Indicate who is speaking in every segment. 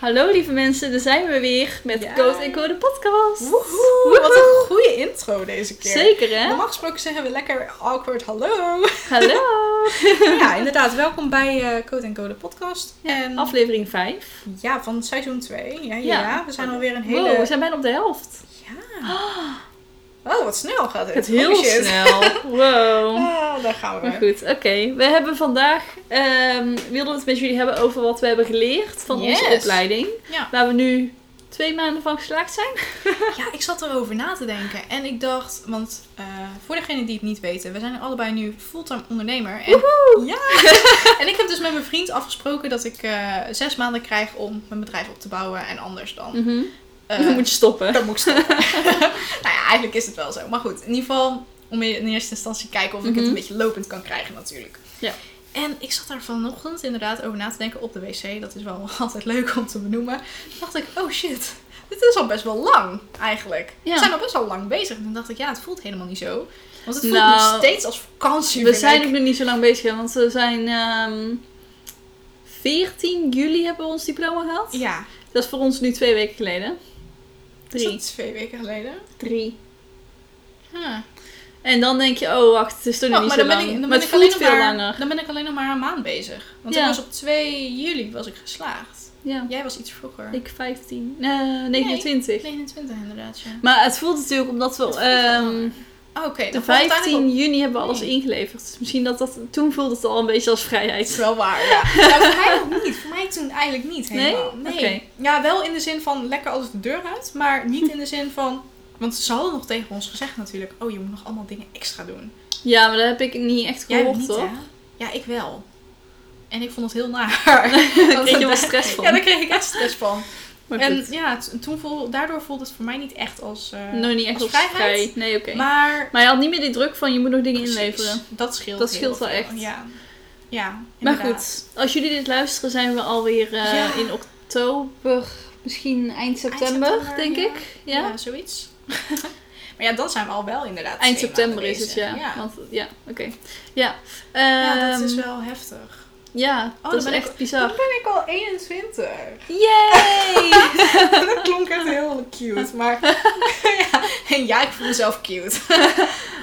Speaker 1: Hallo lieve mensen, daar zijn we weer met
Speaker 2: Ja.
Speaker 1: Code Code podcast.
Speaker 2: Woehoe, wat een goede intro deze keer.
Speaker 1: Zeker hè?
Speaker 2: Normaal gesproken zeggen we lekker awkward hallo.
Speaker 1: Hallo.
Speaker 2: ja, inderdaad. Welkom bij eh Code Code podcast. En
Speaker 1: Aflevering 5.
Speaker 2: ja, van seizoen 2. Ja, ja,
Speaker 1: Ja.
Speaker 2: ja. we zijn alweer een hele...
Speaker 1: Wow, we zijn bijna op de helft.
Speaker 2: Ja. Oh, wat snel gaat dit.
Speaker 1: Het heel
Speaker 2: Oh, shit.
Speaker 1: snel. Wow.
Speaker 2: Ah, daar gaan we.
Speaker 1: Maar goed, oké. We hebben vandaag, ehm, wilden we het met jullie hebben over wat we hebben geleerd van onze
Speaker 2: Yes.
Speaker 1: opleiding.
Speaker 2: Ja.
Speaker 1: Waar we nu twee maanden van geslaagd zijn.
Speaker 2: Ja, ik zat erover na te denken. En ik dacht, want eh, voor degenen die het niet weten, we zijn allebei nu fulltime ondernemer. En, ja! en ik heb dus met mijn vriend afgesproken dat ik eh, zes maanden krijg om mijn bedrijf op te bouwen. En anders dan. eh,
Speaker 1: Dan moet je stoppen.
Speaker 2: dan moet ik stoppen. nou ja, eigenlijk is het wel zo. Maar goed, in ieder geval om in eerste instantie te kijken of ik het
Speaker 1: Mhm.
Speaker 2: een beetje lopend kan krijgen natuurlijk.
Speaker 1: Ja.
Speaker 2: En ik zat daar vanochtend inderdaad over na te denken op de wc. Dat is wel altijd leuk om te benoemen. Toen dacht ik, oh shit, dit is al best wel lang eigenlijk.
Speaker 1: Ja.
Speaker 2: We zijn al best wel lang bezig. En toen dacht ik, ja, het voelt helemaal niet zo. Want het voelt
Speaker 1: Nou,
Speaker 2: nog steeds als vakantie.
Speaker 1: We
Speaker 2: vind
Speaker 1: zijn
Speaker 2: ik.
Speaker 1: ook nog niet zo lang bezig, hè, want we zijn ehm 14 juli hebben we ons diploma gehaald.
Speaker 2: Ja,
Speaker 1: Dat is voor ons nu twee weken geleden.
Speaker 2: is
Speaker 1: Drie.
Speaker 2: dat twee weken geleden?
Speaker 1: Drie.
Speaker 2: Huh.
Speaker 1: En dan denk je, oh wacht, het is toch nog
Speaker 2: Oh,
Speaker 1: niet
Speaker 2: maar
Speaker 1: zo
Speaker 2: dan
Speaker 1: lang.
Speaker 2: ben, ik, dan, ben
Speaker 1: maar
Speaker 2: ik
Speaker 1: het
Speaker 2: alleen
Speaker 1: voelt
Speaker 2: nog
Speaker 1: veel
Speaker 2: maar,
Speaker 1: langer.
Speaker 2: dan ben ik alleen nog maar een maand bezig. Want ik
Speaker 1: Ja.
Speaker 2: was op 2 juli was ik geslaagd.
Speaker 1: Ja.
Speaker 2: Jij was iets vroeger.
Speaker 1: Ik 15. eh 29.
Speaker 2: 29 inderdaad, ja.
Speaker 1: Maar het voelt natuurlijk omdat we
Speaker 2: Het voelt wel
Speaker 1: ehm,
Speaker 2: langer. Oh, Oké,
Speaker 1: de
Speaker 2: dat valt uiteindelijk
Speaker 1: 15 juni hebben we alles
Speaker 2: Nee.
Speaker 1: ingeleverd. Dus misschien dat dat toen voelde het al een beetje als
Speaker 2: op- is
Speaker 1: vrijheid.
Speaker 2: wel waar, ja. nou, voor mij nog niet. Voor mij toen eigenlijk niet
Speaker 1: Nee?
Speaker 2: helemaal. Nee?
Speaker 1: Oké.
Speaker 2: Ja, wel in de zin van lekker als de deur uit, maar niet in de zin van... Want ze hadden nog tegen ons gezegd natuurlijk, oh je moet nog allemaal dingen extra doen.
Speaker 1: Ja, maar dat heb ik niet echt
Speaker 2: Jij
Speaker 1: gehoord
Speaker 2: niet,
Speaker 1: hoor.
Speaker 2: hè? Ja, ik wel. En ik vond het heel naar. Dan
Speaker 1: kreeg je wel stress van.
Speaker 2: Ja, daar kreeg ik echt stress van.
Speaker 1: Maar
Speaker 2: en
Speaker 1: goed,
Speaker 2: ja, t- toen voel, daardoor voelde het voor mij niet echt als... eh,
Speaker 1: nog niet echt
Speaker 2: als
Speaker 1: als
Speaker 2: vrijheid.
Speaker 1: vrij. Nee, oké. Maar...
Speaker 2: Maar
Speaker 1: je had niet meer die druk van je moet nog dingen
Speaker 2: Precies.
Speaker 1: inleveren.
Speaker 2: Dat scheelt
Speaker 1: Dat
Speaker 2: heel
Speaker 1: scheelt wel
Speaker 2: veel.
Speaker 1: echt.
Speaker 2: Ja, ja
Speaker 1: Maar
Speaker 2: inderdaad.
Speaker 1: goed, als jullie dit luisteren zijn we alweer eh,
Speaker 2: Ja.
Speaker 1: in oktober, misschien eind september,
Speaker 2: september,
Speaker 1: denk
Speaker 2: ja.
Speaker 1: ik. Ja?
Speaker 2: Ja, zoiets. maar ja, dan zijn we al wel inderdaad
Speaker 1: Eind
Speaker 2: twee
Speaker 1: september
Speaker 2: maanden
Speaker 1: is het,
Speaker 2: bezig.
Speaker 1: ja.
Speaker 2: Ja.
Speaker 1: Want, ja, oké. Ja.
Speaker 2: Ja, dat is
Speaker 1: Ehm,
Speaker 2: wel heftig.
Speaker 1: Ja,
Speaker 2: dan
Speaker 1: dat is
Speaker 2: ben ik- Oh,
Speaker 1: echt bizar.
Speaker 2: Dan ben ik al 21.
Speaker 1: Yay!
Speaker 2: dat klonk echt heel cute, maar... ja, ja, ik voel mezelf cute.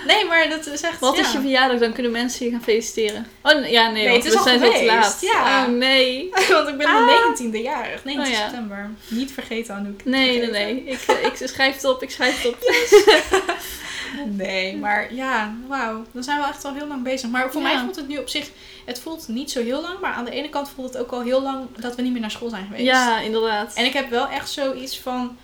Speaker 2: nee, maar dat is echt...
Speaker 1: Wat
Speaker 2: ja.
Speaker 1: is je verjaardag? Dan kunnen mensen je gaan feliciteren. Oh n- ja, nee,
Speaker 2: Nee,
Speaker 1: want
Speaker 2: het is
Speaker 1: we
Speaker 2: al
Speaker 1: zijn zo te
Speaker 2: geweest.
Speaker 1: laat.
Speaker 2: Ja.
Speaker 1: Oh nee.
Speaker 2: Want ik ben
Speaker 1: Ah.
Speaker 2: de 19e jarig. 19
Speaker 1: Oh ja.
Speaker 2: september. Niet vergeten, Anouk. Niet
Speaker 1: Nee, nee,
Speaker 2: vergeten.
Speaker 1: nee. Ik, eh, ik schrijf het op, ik schrijf het op.
Speaker 2: Nee, maar ja, wauw. Dan zijn we echt al heel lang bezig. Maar voor
Speaker 1: Ja.
Speaker 2: mij voelt het nu op zich... Het voelt niet zo heel lang, maar aan de ene kant voelt het ook al heel lang dat we niet meer naar school zijn geweest.
Speaker 1: Ja, inderdaad.
Speaker 2: En ik heb wel echt zoiets van...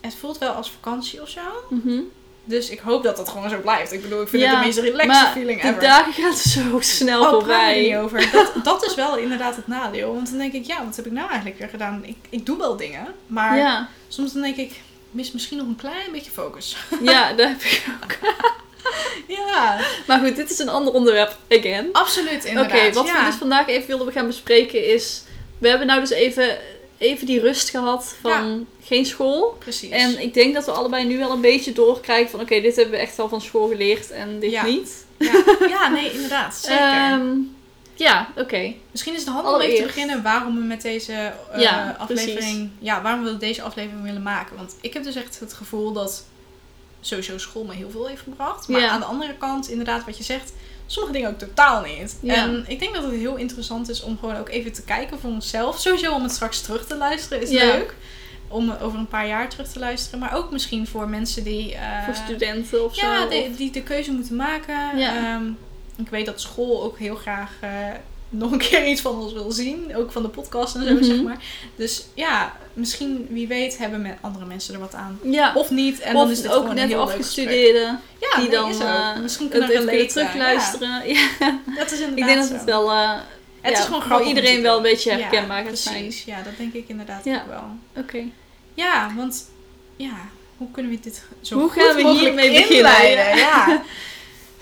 Speaker 2: Het voelt wel als vakantie of zo.
Speaker 1: Mhm.
Speaker 2: Dus ik hoop dat dat gewoon zo blijft. Ik bedoel, ik vind
Speaker 1: Ja,
Speaker 2: het de meest relaxed
Speaker 1: maar
Speaker 2: feeling
Speaker 1: Die
Speaker 2: ever.
Speaker 1: dagen gaan zo snel
Speaker 2: Oh, praat er niet
Speaker 1: voorbij.
Speaker 2: over. Dat, dat is wel inderdaad het nadeel. Want dan denk ik, ja, wat heb ik nou eigenlijk weer gedaan? Ik, ik doe wel dingen, maar
Speaker 1: Ja,
Speaker 2: soms dan denk ik, ik mis misschien nog een klein beetje focus.
Speaker 1: ja, dat heb ik ook.
Speaker 2: Ja,
Speaker 1: Maar goed, dit is een ander onderwerp, again.
Speaker 2: absoluut
Speaker 1: Oké,
Speaker 2: Oh, inderdaad.
Speaker 1: wat
Speaker 2: ja.
Speaker 1: we dus vandaag even wilden gaan bespreken is... We hebben nou dus even, even die rust gehad van geen school.
Speaker 2: Precies.
Speaker 1: En ik denk dat we allebei nu wel een beetje doorkrijgen van... Oké, dit hebben we echt al van school geleerd en dit
Speaker 2: Ja,
Speaker 1: niet.
Speaker 2: Ja, ja, nee, inderdaad. Zeker.
Speaker 1: Ehm, ja, oké.
Speaker 2: Misschien is het handig om even te
Speaker 1: allereerst.
Speaker 2: beginnen waarom we met deze eh,
Speaker 1: Ja,
Speaker 2: aflevering.
Speaker 1: precies.
Speaker 2: Ja, waarom we deze aflevering willen maken. Want ik heb dus echt het gevoel dat sowieso school me heel veel heeft gebracht. Maar
Speaker 1: Ja.
Speaker 2: aan de andere kant, inderdaad, wat je zegt, sommige dingen ook totaal niet.
Speaker 1: Ja.
Speaker 2: En ik denk dat het heel interessant is om gewoon ook even te kijken voor onszelf. Sowieso om het straks terug te luisteren is
Speaker 1: Ja.
Speaker 2: leuk. Om over een paar jaar terug te luisteren. Maar ook misschien voor mensen die. eh,
Speaker 1: Voor studenten of zo.
Speaker 2: ja,
Speaker 1: of-
Speaker 2: die, die de keuze moeten maken.
Speaker 1: Ja.
Speaker 2: Ehm, ik weet dat school ook heel graag eh, nog een keer iets van ons wil zien. Ook van de podcast en zo,
Speaker 1: Mhm.
Speaker 2: zeg maar. Dus ja, misschien, wie weet, hebben met andere mensen er wat aan.
Speaker 1: ja.
Speaker 2: Of niet. En
Speaker 1: of
Speaker 2: dan is dit
Speaker 1: ook
Speaker 2: gewoon een
Speaker 1: net
Speaker 2: heel leuk gesprek.
Speaker 1: afgestudeerden
Speaker 2: Ja,
Speaker 1: die
Speaker 2: nee,
Speaker 1: dan
Speaker 2: is ook.
Speaker 1: eh,
Speaker 2: misschien
Speaker 1: het
Speaker 2: kunnen
Speaker 1: even
Speaker 2: we
Speaker 1: kunnen
Speaker 2: relaten.
Speaker 1: terugluisteren. Ja.
Speaker 2: Ja, dat is inderdaad
Speaker 1: Ik denk dat
Speaker 2: zo.
Speaker 1: het wel... eh,
Speaker 2: Het
Speaker 1: ja,
Speaker 2: is gewoon
Speaker 1: voor
Speaker 2: grappig om te
Speaker 1: iedereen wel
Speaker 2: doen.
Speaker 1: een beetje
Speaker 2: Ja,
Speaker 1: herkenbaar gaat zijn.
Speaker 2: Precies, ja, dat denk ik inderdaad
Speaker 1: Ja.
Speaker 2: ook wel.
Speaker 1: Oké.
Speaker 2: Ja, want ja, hoe kunnen we dit zo
Speaker 1: Hoe
Speaker 2: goed
Speaker 1: gaan we
Speaker 2: mogelijk
Speaker 1: hiermee beginnen?
Speaker 2: inleiden? Ja.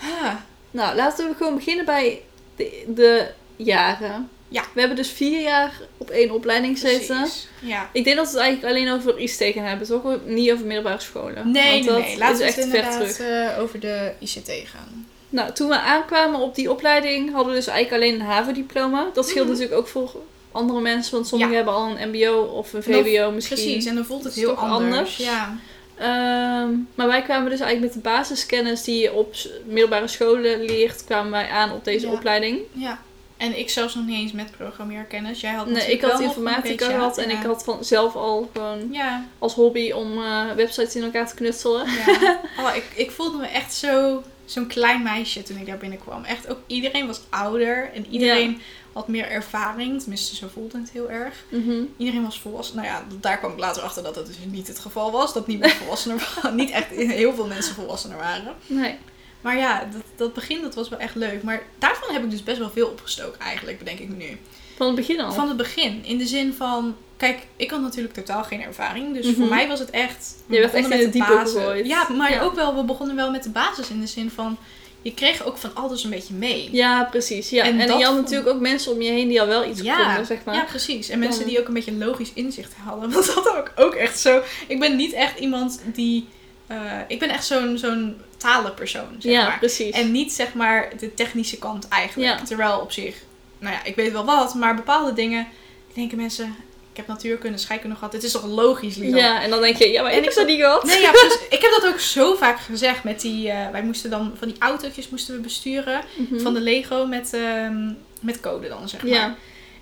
Speaker 2: Ah,
Speaker 1: Nou, laten we gewoon beginnen bij de, de jaren.
Speaker 2: Ja.
Speaker 1: We hebben dus vier jaar op één opleiding zitten.
Speaker 2: precies. Ja.
Speaker 1: Ik denk dat we het eigenlijk alleen over ICT gaan hebben, toch? Niet over middelbare scholen.
Speaker 2: Nee, nee,
Speaker 1: Want dat
Speaker 2: nee. Laten
Speaker 1: is
Speaker 2: we het
Speaker 1: echt ver
Speaker 2: inderdaad
Speaker 1: terug.
Speaker 2: eh over de ICT gaan.
Speaker 1: Nou, toen we aankwamen op die opleiding hadden we dus eigenlijk alleen een HAVO-diploma. Dat scheelt
Speaker 2: Mhm.
Speaker 1: natuurlijk ook voor andere mensen, want sommigen
Speaker 2: Ja.
Speaker 1: hebben al een MBO of een
Speaker 2: Nou,
Speaker 1: VWO misschien.
Speaker 2: Precies, en dan voelt het
Speaker 1: Dat is
Speaker 2: heel
Speaker 1: toch
Speaker 2: anders.
Speaker 1: anders?
Speaker 2: Ja.
Speaker 1: Ehm, maar wij kwamen dus eigenlijk met de basiskennis die je op s- middelbare scholen leert, kwamen wij aan op deze
Speaker 2: Ja.
Speaker 1: opleiding.
Speaker 2: ja. En ik zelfs nog niet eens met programmeerkennis. Jij had
Speaker 1: Nee, ik
Speaker 2: natuurlijk
Speaker 1: had
Speaker 2: wel nog een
Speaker 1: informatica
Speaker 2: beetje,
Speaker 1: gehad en
Speaker 2: ja.
Speaker 1: ik had van zelf al gewoon
Speaker 2: Ja,
Speaker 1: als hobby om eh, websites in elkaar te knutselen.
Speaker 2: ja. Oh, ik, ik voelde me echt zo, zo'n klein meisje toen ik daar binnenkwam. Echt ook iedereen was ouder en iedereen had meer ervaring. Tenminste, zo voelde het heel erg.
Speaker 1: Mhm.
Speaker 2: Iedereen was volwassen. Nou ja, daar kwam ik later achter dat dat dus niet het geval was. Dat niemand volwassener was. Niet echt heel veel mensen volwassener waren.
Speaker 1: Nee.
Speaker 2: Maar ja, dat, dat begin dat was wel echt leuk. Maar daarvan heb ik dus best wel veel opgestoken eigenlijk, bedenk ik nu.
Speaker 1: Van het begin al.
Speaker 2: Van het begin. In de zin van... Kijk, ik had natuurlijk totaal geen ervaring. Dus
Speaker 1: Mhm.
Speaker 2: voor mij was het echt...
Speaker 1: Je werd
Speaker 2: begonnen
Speaker 1: echt in
Speaker 2: met
Speaker 1: de diepe
Speaker 2: basis.
Speaker 1: gegooid.
Speaker 2: Ja, maar
Speaker 1: Ja.
Speaker 2: ook wel... We begonnen wel met de basis. In de zin van... Je kreeg ook van alles een beetje mee.
Speaker 1: Ja, precies. Ja.
Speaker 2: En
Speaker 1: En,
Speaker 2: dat
Speaker 1: je had
Speaker 2: vond-
Speaker 1: natuurlijk ook mensen om je heen die al wel iets
Speaker 2: Ja.
Speaker 1: konden, zeg maar.
Speaker 2: Ja, precies. En mensen
Speaker 1: Dan-
Speaker 2: die ook een beetje logisch inzicht hadden. Want dat had ik ook echt zo. Ik ben niet echt iemand die. eh, ik ben echt zo'n zo'n talenpersoon. Zeg
Speaker 1: Ja,
Speaker 2: maar.
Speaker 1: precies.
Speaker 2: En niet zeg maar de technische kant eigenlijk.
Speaker 1: Ja.
Speaker 2: Terwijl op zich, nou ja, ik weet wel wat, maar bepaalde dingen denken mensen. Ik heb natuurkunde, scheikunde gehad. Dit is toch logisch, Lisan?
Speaker 1: ja, en dan denk je, ja, maar
Speaker 2: En
Speaker 1: ik
Speaker 2: ik
Speaker 1: heb dat niet gehad.
Speaker 2: Nee, ja, precies. ik heb dat ook zo vaak gezegd met die. eh, wij moesten dan van die autootjes moesten we besturen
Speaker 1: Mhm.
Speaker 2: van de Lego met, ehm, met code dan zeg maar.
Speaker 1: Ja.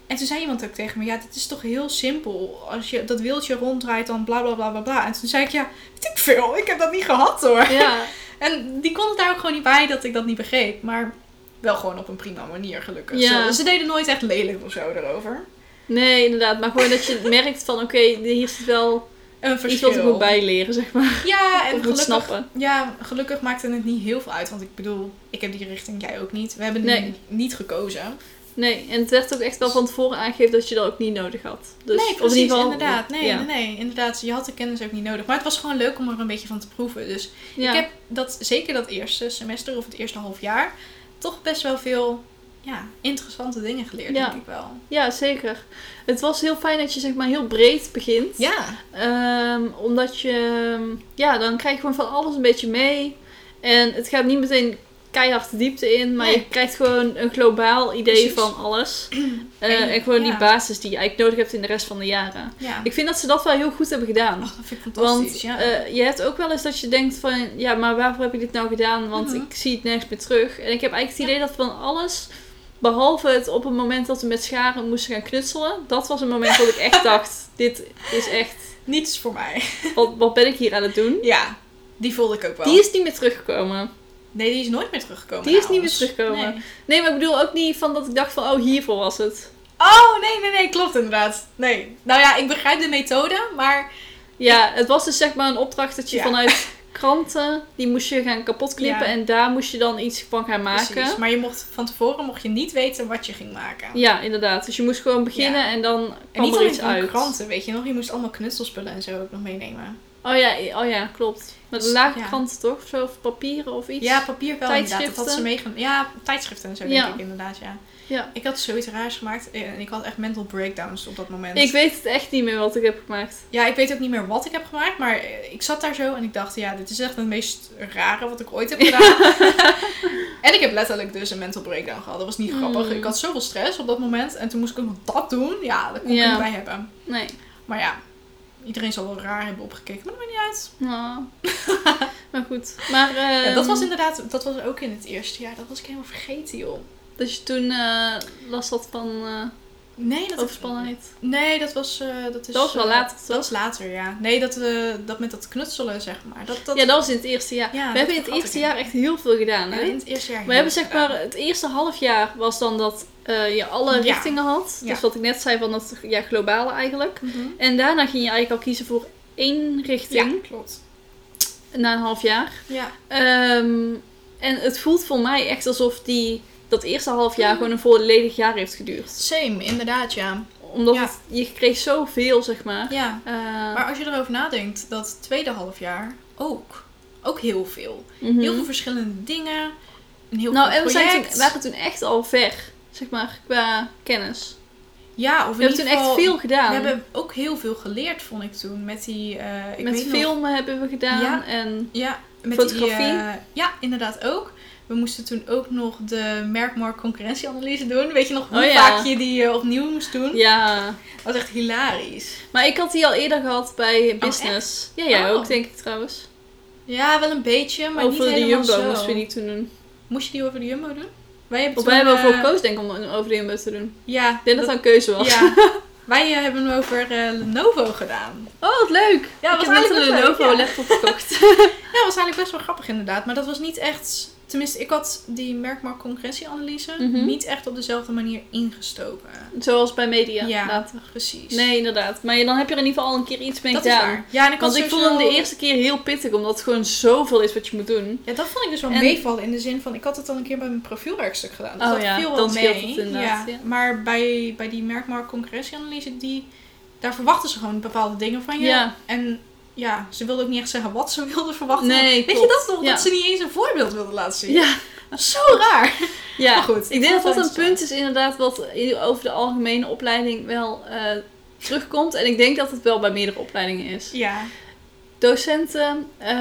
Speaker 2: En toen zei iemand ook tegen me, ja, dit is toch heel simpel. Als je dat wieltje ronddraait, dan bla bla bla bla bla. En toen zei ik, ja, weet ik veel, ik heb dat niet gehad hoor.
Speaker 1: ja.
Speaker 2: En die kon het daar ook gewoon niet bij dat ik dat niet begreep. Maar wel gewoon op een prima manier, gelukkig.
Speaker 1: Ja.
Speaker 2: Ze, ze deden nooit echt lelijk of zo erover.
Speaker 1: Nee, inderdaad. Maar gewoon dat je merkt van, oké, hier zit wel
Speaker 2: Een
Speaker 1: iets wat ik moet
Speaker 2: verschil.
Speaker 1: bijleren, zeg maar.
Speaker 2: Ja,
Speaker 1: Of
Speaker 2: en
Speaker 1: moet
Speaker 2: gelukkig,
Speaker 1: snappen.
Speaker 2: ja, gelukkig maakte het niet heel veel uit. Want ik bedoel, ik heb die richting, jij ook niet. We hebben die
Speaker 1: Nee.
Speaker 2: niet gekozen.
Speaker 1: Nee, en het werd ook echt wel van tevoren aangegeven dat je dat ook niet nodig had. Dus,
Speaker 2: nee,
Speaker 1: of
Speaker 2: precies,
Speaker 1: in ieder geval,
Speaker 2: inderdaad. Nee,
Speaker 1: ja.
Speaker 2: nee, nee, inderdaad. Je had de kennis ook niet nodig. Maar het was gewoon leuk om er een beetje van te proeven. Dus
Speaker 1: Ja.
Speaker 2: Ik heb dat, zeker dat eerste semester of het eerste half jaar toch best wel veel ja, interessante dingen geleerd,
Speaker 1: Ja.
Speaker 2: denk ik wel.
Speaker 1: ja, zeker. Het was heel fijn dat je zeg maar heel breed begint.
Speaker 2: Ja,
Speaker 1: Ehm, omdat je, ehm, ja, dan krijg je gewoon van alles een beetje mee. En het gaat niet meteen keihard de diepte in, maar
Speaker 2: Nee.
Speaker 1: je krijgt gewoon een globaal idee
Speaker 2: Precies.
Speaker 1: van alles. Eh,
Speaker 2: En-
Speaker 1: en, gewoon
Speaker 2: ja.
Speaker 1: die basis die je eigenlijk nodig hebt in de rest van de jaren.
Speaker 2: ja.
Speaker 1: Ik vind dat ze dat wel heel goed hebben gedaan.
Speaker 2: Ach, dat vind ik fantastisch. ja.
Speaker 1: Want eh, je hebt ook wel eens dat je denkt van, ja, maar waarvoor heb ik dit nou gedaan? Want
Speaker 2: Mhm.
Speaker 1: ik zie het nergens meer terug. En ik heb eigenlijk het idee dat van alles, behalve het op het moment dat we met scharen moesten gaan knutselen, dat was een moment dat ik echt dacht, dit is echt,
Speaker 2: Niets voor mij.
Speaker 1: wat, wat ben ik hier aan het doen?
Speaker 2: Ja, die voelde ik ook wel.
Speaker 1: Die is niet meer teruggekomen.
Speaker 2: Nee, die is nooit meer teruggekomen.
Speaker 1: Die is niet
Speaker 2: trouwens.
Speaker 1: meer teruggekomen.
Speaker 2: Nee.
Speaker 1: Nee, maar ik bedoel ook niet van dat ik dacht van, oh, hiervoor was het.
Speaker 2: Oh, nee, nee, nee, klopt inderdaad. Nee. Nou ja, ik begrijp de methode, maar
Speaker 1: Ja, het was dus zeg maar een opdracht dat je
Speaker 2: Ja.
Speaker 1: vanuit kranten, die moest je gaan kapotknippen
Speaker 2: Ja.
Speaker 1: en daar moest je dan iets van gaan maken.
Speaker 2: Precies. Maar je mocht, van tevoren mocht je niet weten wat je ging maken.
Speaker 1: Ja, inderdaad. Dus je moest gewoon beginnen en dan
Speaker 2: En
Speaker 1: kwam
Speaker 2: niet
Speaker 1: er
Speaker 2: alleen
Speaker 1: iets
Speaker 2: van
Speaker 1: uit.
Speaker 2: kranten, weet je nog. Je moest allemaal knutselspullen en zo ook nog meenemen.
Speaker 1: Oh ja, oh ja, klopt. Met
Speaker 2: Dus,
Speaker 1: een lage
Speaker 2: ja.
Speaker 1: kranten toch? Of zo, of papieren of iets.
Speaker 2: Ja, papier wel inderdaad. Dat had ze
Speaker 1: Tijdschriften.
Speaker 2: meegenomen. Ja, tijdschriften en zo
Speaker 1: Ja.
Speaker 2: denk ik inderdaad, ja.
Speaker 1: Ja.
Speaker 2: Ik had zoiets raars gemaakt en ik had echt mental breakdowns op dat moment.
Speaker 1: Ik weet het echt niet meer wat ik heb gemaakt.
Speaker 2: Ja, ik weet ook niet meer wat ik heb gemaakt, maar eh, ik zat daar zo en ik dacht, ja, dit is echt het meest rare wat ik ooit heb gedaan. en ik heb letterlijk dus een mental breakdown gehad. Dat was niet grappig.
Speaker 1: Mm.
Speaker 2: Ik had zoveel stress op dat moment en toen moest ik ook nog dat doen. Ja, dat kon ik
Speaker 1: Ja.
Speaker 2: niet bij hebben.
Speaker 1: Nee.
Speaker 2: Maar ja, iedereen zal wel raar hebben opgekeken, maar dat maakt niet uit.
Speaker 1: Ah. maar goed. Maar
Speaker 2: Ja, dat
Speaker 1: ehm,
Speaker 2: was inderdaad, dat was ook in het eerste jaar. Dat was ik helemaal vergeten, joh.
Speaker 1: dat je toen eh last had van eh,
Speaker 2: Nee, dat
Speaker 1: overspannenheid.
Speaker 2: Nee, dat was... eh, dat, is,
Speaker 1: Dat was wel
Speaker 2: eh,
Speaker 1: later,
Speaker 2: Dat
Speaker 1: toch?
Speaker 2: was later, ja. Nee, dat, eh, dat met dat knutselen, zeg maar. Dat, dat,
Speaker 1: Ja, dat was in het eerste jaar.
Speaker 2: Ja,
Speaker 1: we
Speaker 2: dat
Speaker 1: hebben in het
Speaker 2: vergat
Speaker 1: eerste
Speaker 2: ik
Speaker 1: jaar echt heel veel gedaan,
Speaker 2: Ja,
Speaker 1: hè?
Speaker 2: in het eerste jaar.
Speaker 1: We hebben zeg maar, het eerste half jaar was dan dat eh, je alle
Speaker 2: Ja.
Speaker 1: richtingen had.
Speaker 2: Ja.
Speaker 1: Dus wat ik net zei van dat ja, globale eigenlijk.
Speaker 2: mm
Speaker 1: En daarna ging je eigenlijk al kiezen voor één richting
Speaker 2: Ja, klopt.
Speaker 1: na een half jaar.
Speaker 2: Ja.
Speaker 1: Ehm, en het voelt voor mij echt alsof die, dat eerste half jaar gewoon een volledig jaar heeft geduurd.
Speaker 2: Same, inderdaad, ja.
Speaker 1: Omdat
Speaker 2: Ja.
Speaker 1: het- je kreeg zoveel, zeg maar.
Speaker 2: Ja,
Speaker 1: Eh,
Speaker 2: maar als je erover nadenkt, dat tweede halfjaar ook. Ook heel veel.
Speaker 1: mhm.
Speaker 2: Heel veel verschillende dingen. Een heel
Speaker 1: nou,
Speaker 2: veel
Speaker 1: en we zijn
Speaker 2: project.
Speaker 1: toen, waren toen echt al ver, zeg maar, qua kennis.
Speaker 2: Ja, of
Speaker 1: We
Speaker 2: in ieder
Speaker 1: hebben toen echt
Speaker 2: geval-
Speaker 1: veel gedaan.
Speaker 2: We hebben ook heel veel geleerd, vond ik toen. Met die... eh, ik
Speaker 1: Met
Speaker 2: weet nog-
Speaker 1: filmen hebben we gedaan.
Speaker 2: Ja.
Speaker 1: En
Speaker 2: Ja, met
Speaker 1: Fotografie?
Speaker 2: Die, eh, ja, inderdaad ook. We moesten toen ook nog de merkmarkt concurrentieanalyse doen. Weet je nog hoe
Speaker 1: Oh ja.
Speaker 2: vaak je die eh, opnieuw moest doen?
Speaker 1: ja.
Speaker 2: Dat was echt hilarisch.
Speaker 1: Maar ik had die al eerder gehad bij business. ja, jij
Speaker 2: Oh.
Speaker 1: ook, denk ik trouwens.
Speaker 2: Ja, wel een beetje, maar
Speaker 1: over
Speaker 2: niet
Speaker 1: de
Speaker 2: helemaal
Speaker 1: Jumbo
Speaker 2: zo.
Speaker 1: moesten we die toen doen.
Speaker 2: Moest je die over de Jumbo doen? Wij hebben
Speaker 1: Of
Speaker 2: toen,
Speaker 1: wij hebben ervoor
Speaker 2: eh,
Speaker 1: gekozen, denk ik, om een over de Jumbo te doen.
Speaker 2: Ja.
Speaker 1: Ik denk dat dat een keuze was.
Speaker 2: ja. Wij eh, hebben hem over eh, Lenovo gedaan.
Speaker 1: Oh, wat leuk!
Speaker 2: Ja,
Speaker 1: ik
Speaker 2: was
Speaker 1: heb net een
Speaker 2: eigenlijk best leuk,
Speaker 1: Lenovo
Speaker 2: ja.
Speaker 1: laptop gekocht.
Speaker 2: Ja, dat was eigenlijk best wel grappig inderdaad. Maar dat was niet echt... Tenminste, ik had die merkmarkt concurrentieanalyse
Speaker 1: Mhm.
Speaker 2: niet echt op dezelfde manier ingestoken.
Speaker 1: Zoals bij media
Speaker 2: Ja.
Speaker 1: later.
Speaker 2: Precies.
Speaker 1: Nee, inderdaad. Maar je- dan heb je er in ieder geval al een keer iets mee
Speaker 2: dat is
Speaker 1: gedaan.
Speaker 2: waar. Ja, en ik had
Speaker 1: Want ik vond
Speaker 2: sowieso-
Speaker 1: hem de eerste keer heel pittig, omdat het gewoon zoveel is wat je moet doen.
Speaker 2: Ja, dat vond ik dus wel
Speaker 1: En-
Speaker 2: meevallen in de zin van, ik had het dan een keer bij mijn profielwerkstuk gedaan. Dus
Speaker 1: Oh
Speaker 2: dat
Speaker 1: ja,
Speaker 2: viel wel
Speaker 1: dan
Speaker 2: mee.
Speaker 1: scheelt het inderdaad, ja.
Speaker 2: Maar bij, bij die merkmarkt concurrentieanalyse, die, daar verwachten ze gewoon bepaalde dingen van je.
Speaker 1: Ja.
Speaker 2: En ja, ze wilden ook niet echt zeggen wat ze wilden verwachten. Weet
Speaker 1: Nee,
Speaker 2: je
Speaker 1: klopt.
Speaker 2: dat nog?
Speaker 1: Ja.
Speaker 2: Dat ze niet eens een voorbeeld wilden laten zien.
Speaker 1: Ja,
Speaker 2: Zo raar.
Speaker 1: ja.
Speaker 2: Maar goed,
Speaker 1: Ik denk dat dat een
Speaker 2: interessant.
Speaker 1: punt is inderdaad wat over de algemene opleiding wel eh, terugkomt. En ik denk dat het wel bij meerdere opleidingen is.
Speaker 2: Ja,
Speaker 1: Docenten, ehm,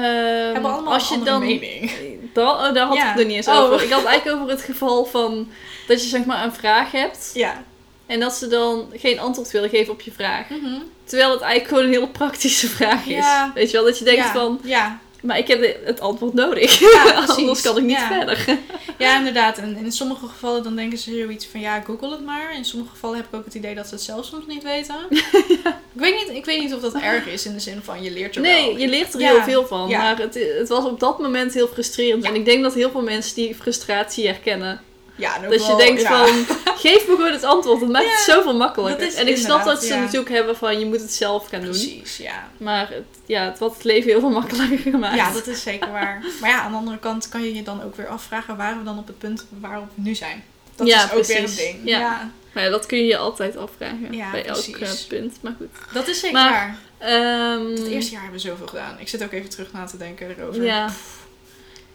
Speaker 2: hebben allemaal
Speaker 1: als je
Speaker 2: een andere
Speaker 1: dan...
Speaker 2: mening.
Speaker 1: Da- oh, daar had
Speaker 2: Ja.
Speaker 1: ik het er niet eens
Speaker 2: Oh.
Speaker 1: over. Ik had het eigenlijk over het geval van dat je zeg maar een vraag hebt
Speaker 2: Ja.
Speaker 1: en dat ze dan geen antwoord willen geven op je vraag.
Speaker 2: Mhm.
Speaker 1: Terwijl het eigenlijk gewoon een heel praktische vraag is.
Speaker 2: Ja.
Speaker 1: Weet je wel, dat je denkt
Speaker 2: ja.
Speaker 1: van,
Speaker 2: Ja.
Speaker 1: maar ik heb de- het antwoord nodig.
Speaker 2: Ja,
Speaker 1: Anders
Speaker 2: precies.
Speaker 1: kan ik niet
Speaker 2: Ja.
Speaker 1: verder.
Speaker 2: ja, inderdaad. En in sommige gevallen dan denken ze zoiets van ja, google het maar. In sommige gevallen heb ik ook het idee dat ze het zelf soms niet weten. ik, weet niet, ik weet niet of dat erg is in de zin van je leert er wel.
Speaker 1: Nee, je leert er
Speaker 2: Ja.
Speaker 1: heel veel van.
Speaker 2: Ja.
Speaker 1: Maar het, het was op dat moment heel frustrerend. En ik denk dat heel veel mensen die frustratie herkennen.
Speaker 2: Ja, en ook
Speaker 1: Dat dus je
Speaker 2: wel-
Speaker 1: denkt
Speaker 2: ja.
Speaker 1: van, geef me gewoon het antwoord. Dat maakt
Speaker 2: Ja,
Speaker 1: het zoveel makkelijker.
Speaker 2: dat is
Speaker 1: en ik snap
Speaker 2: inderdaad,
Speaker 1: dat ze
Speaker 2: ja.
Speaker 1: natuurlijk hebben van, je moet het zelf gaan doen.
Speaker 2: Precies, ja.
Speaker 1: Maar het, ja, het had het leven heel veel makkelijker gemaakt.
Speaker 2: Ja, dat is zeker waar. Maar ja, aan de andere kant kan je je dan ook weer afvragen waren we dan op het punt waarop we nu zijn. Dat
Speaker 1: Ja,
Speaker 2: is ook weer
Speaker 1: precies.
Speaker 2: een ding.
Speaker 1: Ja.
Speaker 2: ja.
Speaker 1: Maar ja, dat kun je je altijd afvragen.
Speaker 2: Ja,
Speaker 1: bij elk
Speaker 2: precies.
Speaker 1: eh, punt. Maar goed.
Speaker 2: Dat is zeker
Speaker 1: Maar-
Speaker 2: waar.
Speaker 1: Ehm,
Speaker 2: Het eerste jaar hebben we zoveel gedaan. Ik zit ook even terug na te denken erover.
Speaker 1: Ja.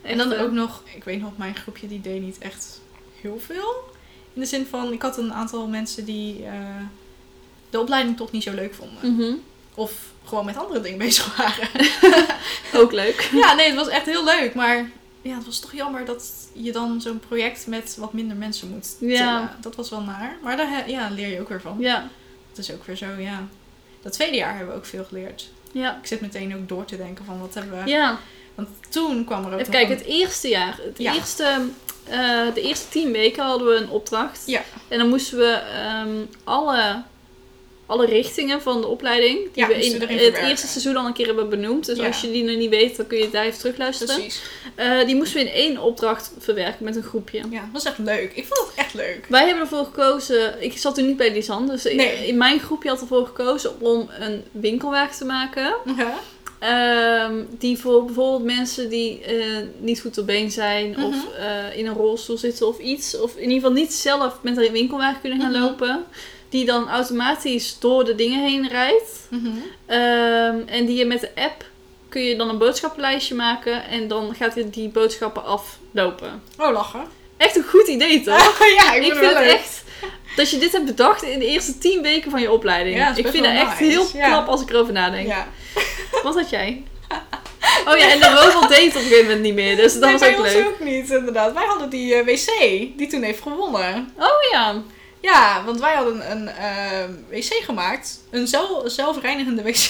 Speaker 2: En dan
Speaker 1: Echt, eh,
Speaker 2: ook nog, ik weet nog, mijn groepje die deed niet echt heel veel. In de zin van, ik had een aantal mensen die eh, de opleiding toch niet zo leuk vonden.
Speaker 1: mhm.
Speaker 2: Of gewoon met andere dingen bezig waren.
Speaker 1: Ook leuk.
Speaker 2: ja, nee, het was echt heel leuk. Maar ja, het was toch jammer dat je dan zo'n project met wat minder mensen moet tillen.
Speaker 1: Ja.
Speaker 2: Dat was wel naar. Maar daar he- ja, leer je ook weer van.
Speaker 1: Ja.
Speaker 2: Dat is ook weer zo, ja. Dat tweede jaar hebben we ook veel geleerd.
Speaker 1: Ja.
Speaker 2: Ik zit meteen ook door te denken van wat hebben we...
Speaker 1: ja.
Speaker 2: Want toen kwam er ook
Speaker 1: Even
Speaker 2: nog
Speaker 1: kijken,
Speaker 2: een-
Speaker 1: het eerste jaar. Het
Speaker 2: Ja.
Speaker 1: eerste, eh, de eerste tien weken hadden we een opdracht.
Speaker 2: Ja.
Speaker 1: En dan moesten we ehm, alle, alle richtingen van de opleiding, die
Speaker 2: Ja,
Speaker 1: we
Speaker 2: moesten
Speaker 1: in
Speaker 2: erin
Speaker 1: het
Speaker 2: verwerken.
Speaker 1: eerste seizoen al een keer hebben benoemd. Dus
Speaker 2: Ja.
Speaker 1: als je die nog niet weet, dan kun je daar even terugluisteren.
Speaker 2: Precies.
Speaker 1: Eh, die moesten we in één opdracht verwerken met een groepje.
Speaker 2: Ja, dat was echt leuk. Ik vond het echt leuk.
Speaker 1: Wij hebben ervoor gekozen, ik zat toen niet bij Lisanne, dus in-
Speaker 2: Nee.
Speaker 1: in mijn groepje had ervoor gekozen om een winkelwerk te maken.
Speaker 2: Ja.
Speaker 1: Ehm, die voor bijvoorbeeld mensen die eh, niet goed op been zijn
Speaker 2: Mhm.
Speaker 1: of eh, in een rolstoel zitten of iets. Of in ieder geval niet zelf met een winkelwagen kunnen gaan
Speaker 2: Mhm.
Speaker 1: lopen. Die dan automatisch door de dingen heen rijdt.
Speaker 2: Mhm.
Speaker 1: Ehm, en die je met de app kun je dan een boodschappenlijstje maken. En dan gaat die- die boodschappen aflopen.
Speaker 2: Oh, lachen.
Speaker 1: Echt een goed idee toch?
Speaker 2: ja,
Speaker 1: ik vind het echt dat je dit hebt bedacht in de eerste tien weken van je opleiding.
Speaker 2: Ja, dat is
Speaker 1: ik
Speaker 2: best
Speaker 1: vind dat
Speaker 2: wel
Speaker 1: echt
Speaker 2: nice.
Speaker 1: heel
Speaker 2: Ja.
Speaker 1: knap als ik erover nadenk.
Speaker 2: Ja.
Speaker 1: Wat had jij? Oh ja, en de robot deed op een gegeven moment niet meer, dus dat
Speaker 2: nee,
Speaker 1: was
Speaker 2: bij
Speaker 1: ook
Speaker 2: ons
Speaker 1: leuk.
Speaker 2: ook niet, inderdaad. Wij hadden die eh, wc, die toen heeft gewonnen.
Speaker 1: Oh ja.
Speaker 2: Ja, want wij hadden een eh, wc gemaakt. Een zel- zelfreinigende wc.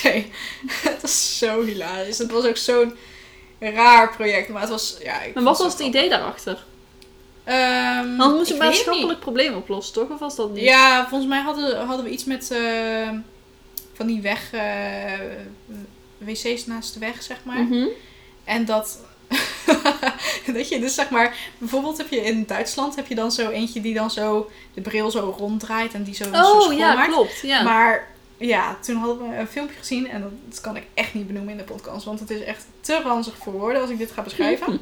Speaker 2: het was zo hilarisch. Het was ook zo'n raar project. Maar het was, ja... Ik
Speaker 1: Maar
Speaker 2: vond
Speaker 1: wat was het
Speaker 2: wel
Speaker 1: idee daarachter?
Speaker 2: grappig. Ehm,
Speaker 1: Want moest je
Speaker 2: Mm, ik
Speaker 1: een
Speaker 2: weet
Speaker 1: maatschappelijk probleem oplossen, toch? Of was dat
Speaker 2: niet.
Speaker 1: niet?
Speaker 2: Ja, volgens mij hadden, hadden we iets met eh, van die weg... eh, wc's naast de weg, zeg maar.
Speaker 1: Mhm.
Speaker 2: En dat, dat je dus zeg maar, bijvoorbeeld heb je in Duitsland heb je dan zo eentje die dan zo de bril zo ronddraait en die zo, zo
Speaker 1: Oh
Speaker 2: schoon
Speaker 1: ja,
Speaker 2: maakt.
Speaker 1: klopt. Ja.
Speaker 2: Maar ja, toen hadden we een filmpje gezien en
Speaker 1: Mhm.
Speaker 2: dat, dat kan ik echt niet benoemen in de podcast, want het is echt te ranzig voor woorden als ik dit ga beschrijven.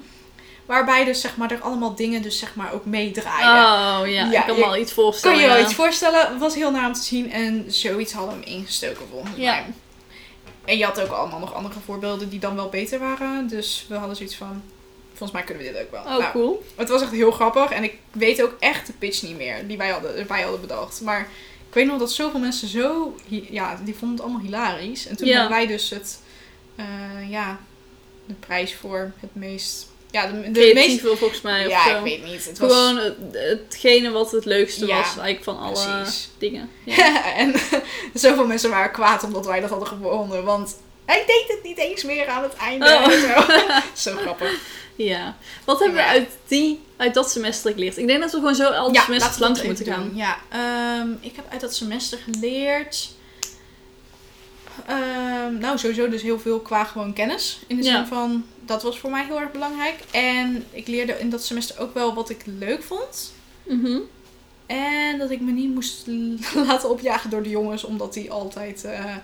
Speaker 2: Waarbij dus zeg maar er allemaal dingen dus zeg maar ook meedraaien.
Speaker 1: Oh ja,
Speaker 2: Ja,
Speaker 1: ik kan
Speaker 2: je-
Speaker 1: me al iets
Speaker 2: Kan
Speaker 1: voorstellen.
Speaker 2: je je wel
Speaker 1: ja.
Speaker 2: iets voorstellen? Was heel naar om te zien. En zoiets hadden hem ingestoken volgens
Speaker 1: Ja.
Speaker 2: mij. En je had ook allemaal nog andere voorbeelden die dan wel beter waren. Dus we hadden zoiets van... Volgens mij kunnen we dit ook wel.
Speaker 1: Oh,
Speaker 2: Nou,
Speaker 1: cool.
Speaker 2: Het was echt heel grappig. En ik weet ook echt de pitch niet meer. Die wij hadden, wij hadden bedacht. Maar ik weet nog dat zoveel mensen zo... hi- Ja, die vonden het allemaal hilarisch. En toen
Speaker 1: Ja.
Speaker 2: hadden wij dus het... eh, ja, de prijs voor het meest... Ja, de, de
Speaker 1: Creatief
Speaker 2: meest...
Speaker 1: wil volgens mij. of
Speaker 2: Ja,
Speaker 1: zo.
Speaker 2: ik weet niet. Het was...
Speaker 1: Gewoon het- hetgene wat het leukste
Speaker 2: Ja,
Speaker 1: was, eigenlijk van alle
Speaker 2: precies.
Speaker 1: dingen. Ja.
Speaker 2: Ja, en zoveel mensen waren kwaad omdat wij dat hadden gewonnen. Want hij deed het niet eens meer aan het einde.
Speaker 1: Oh.
Speaker 2: en Zo. zo grappig.
Speaker 1: ja. Wat hebben we
Speaker 2: Ja.
Speaker 1: uit, die, uit dat semester geleerd? Ik denk dat we gewoon zo al die semesters
Speaker 2: laten we
Speaker 1: langs
Speaker 2: dat
Speaker 1: moeten
Speaker 2: even
Speaker 1: gaan.
Speaker 2: doen. Ja, ehm, ik heb uit dat semester geleerd. ehm, nou, sowieso dus heel veel qua gewoon kennis. In de zin
Speaker 1: Ja.
Speaker 2: van, dat was voor mij heel erg belangrijk. En ik leerde in dat semester ook wel wat ik leuk vond.
Speaker 1: Mhm.
Speaker 2: En dat ik me niet moest l- laten opjagen door de jongens. Omdat die altijd... eh,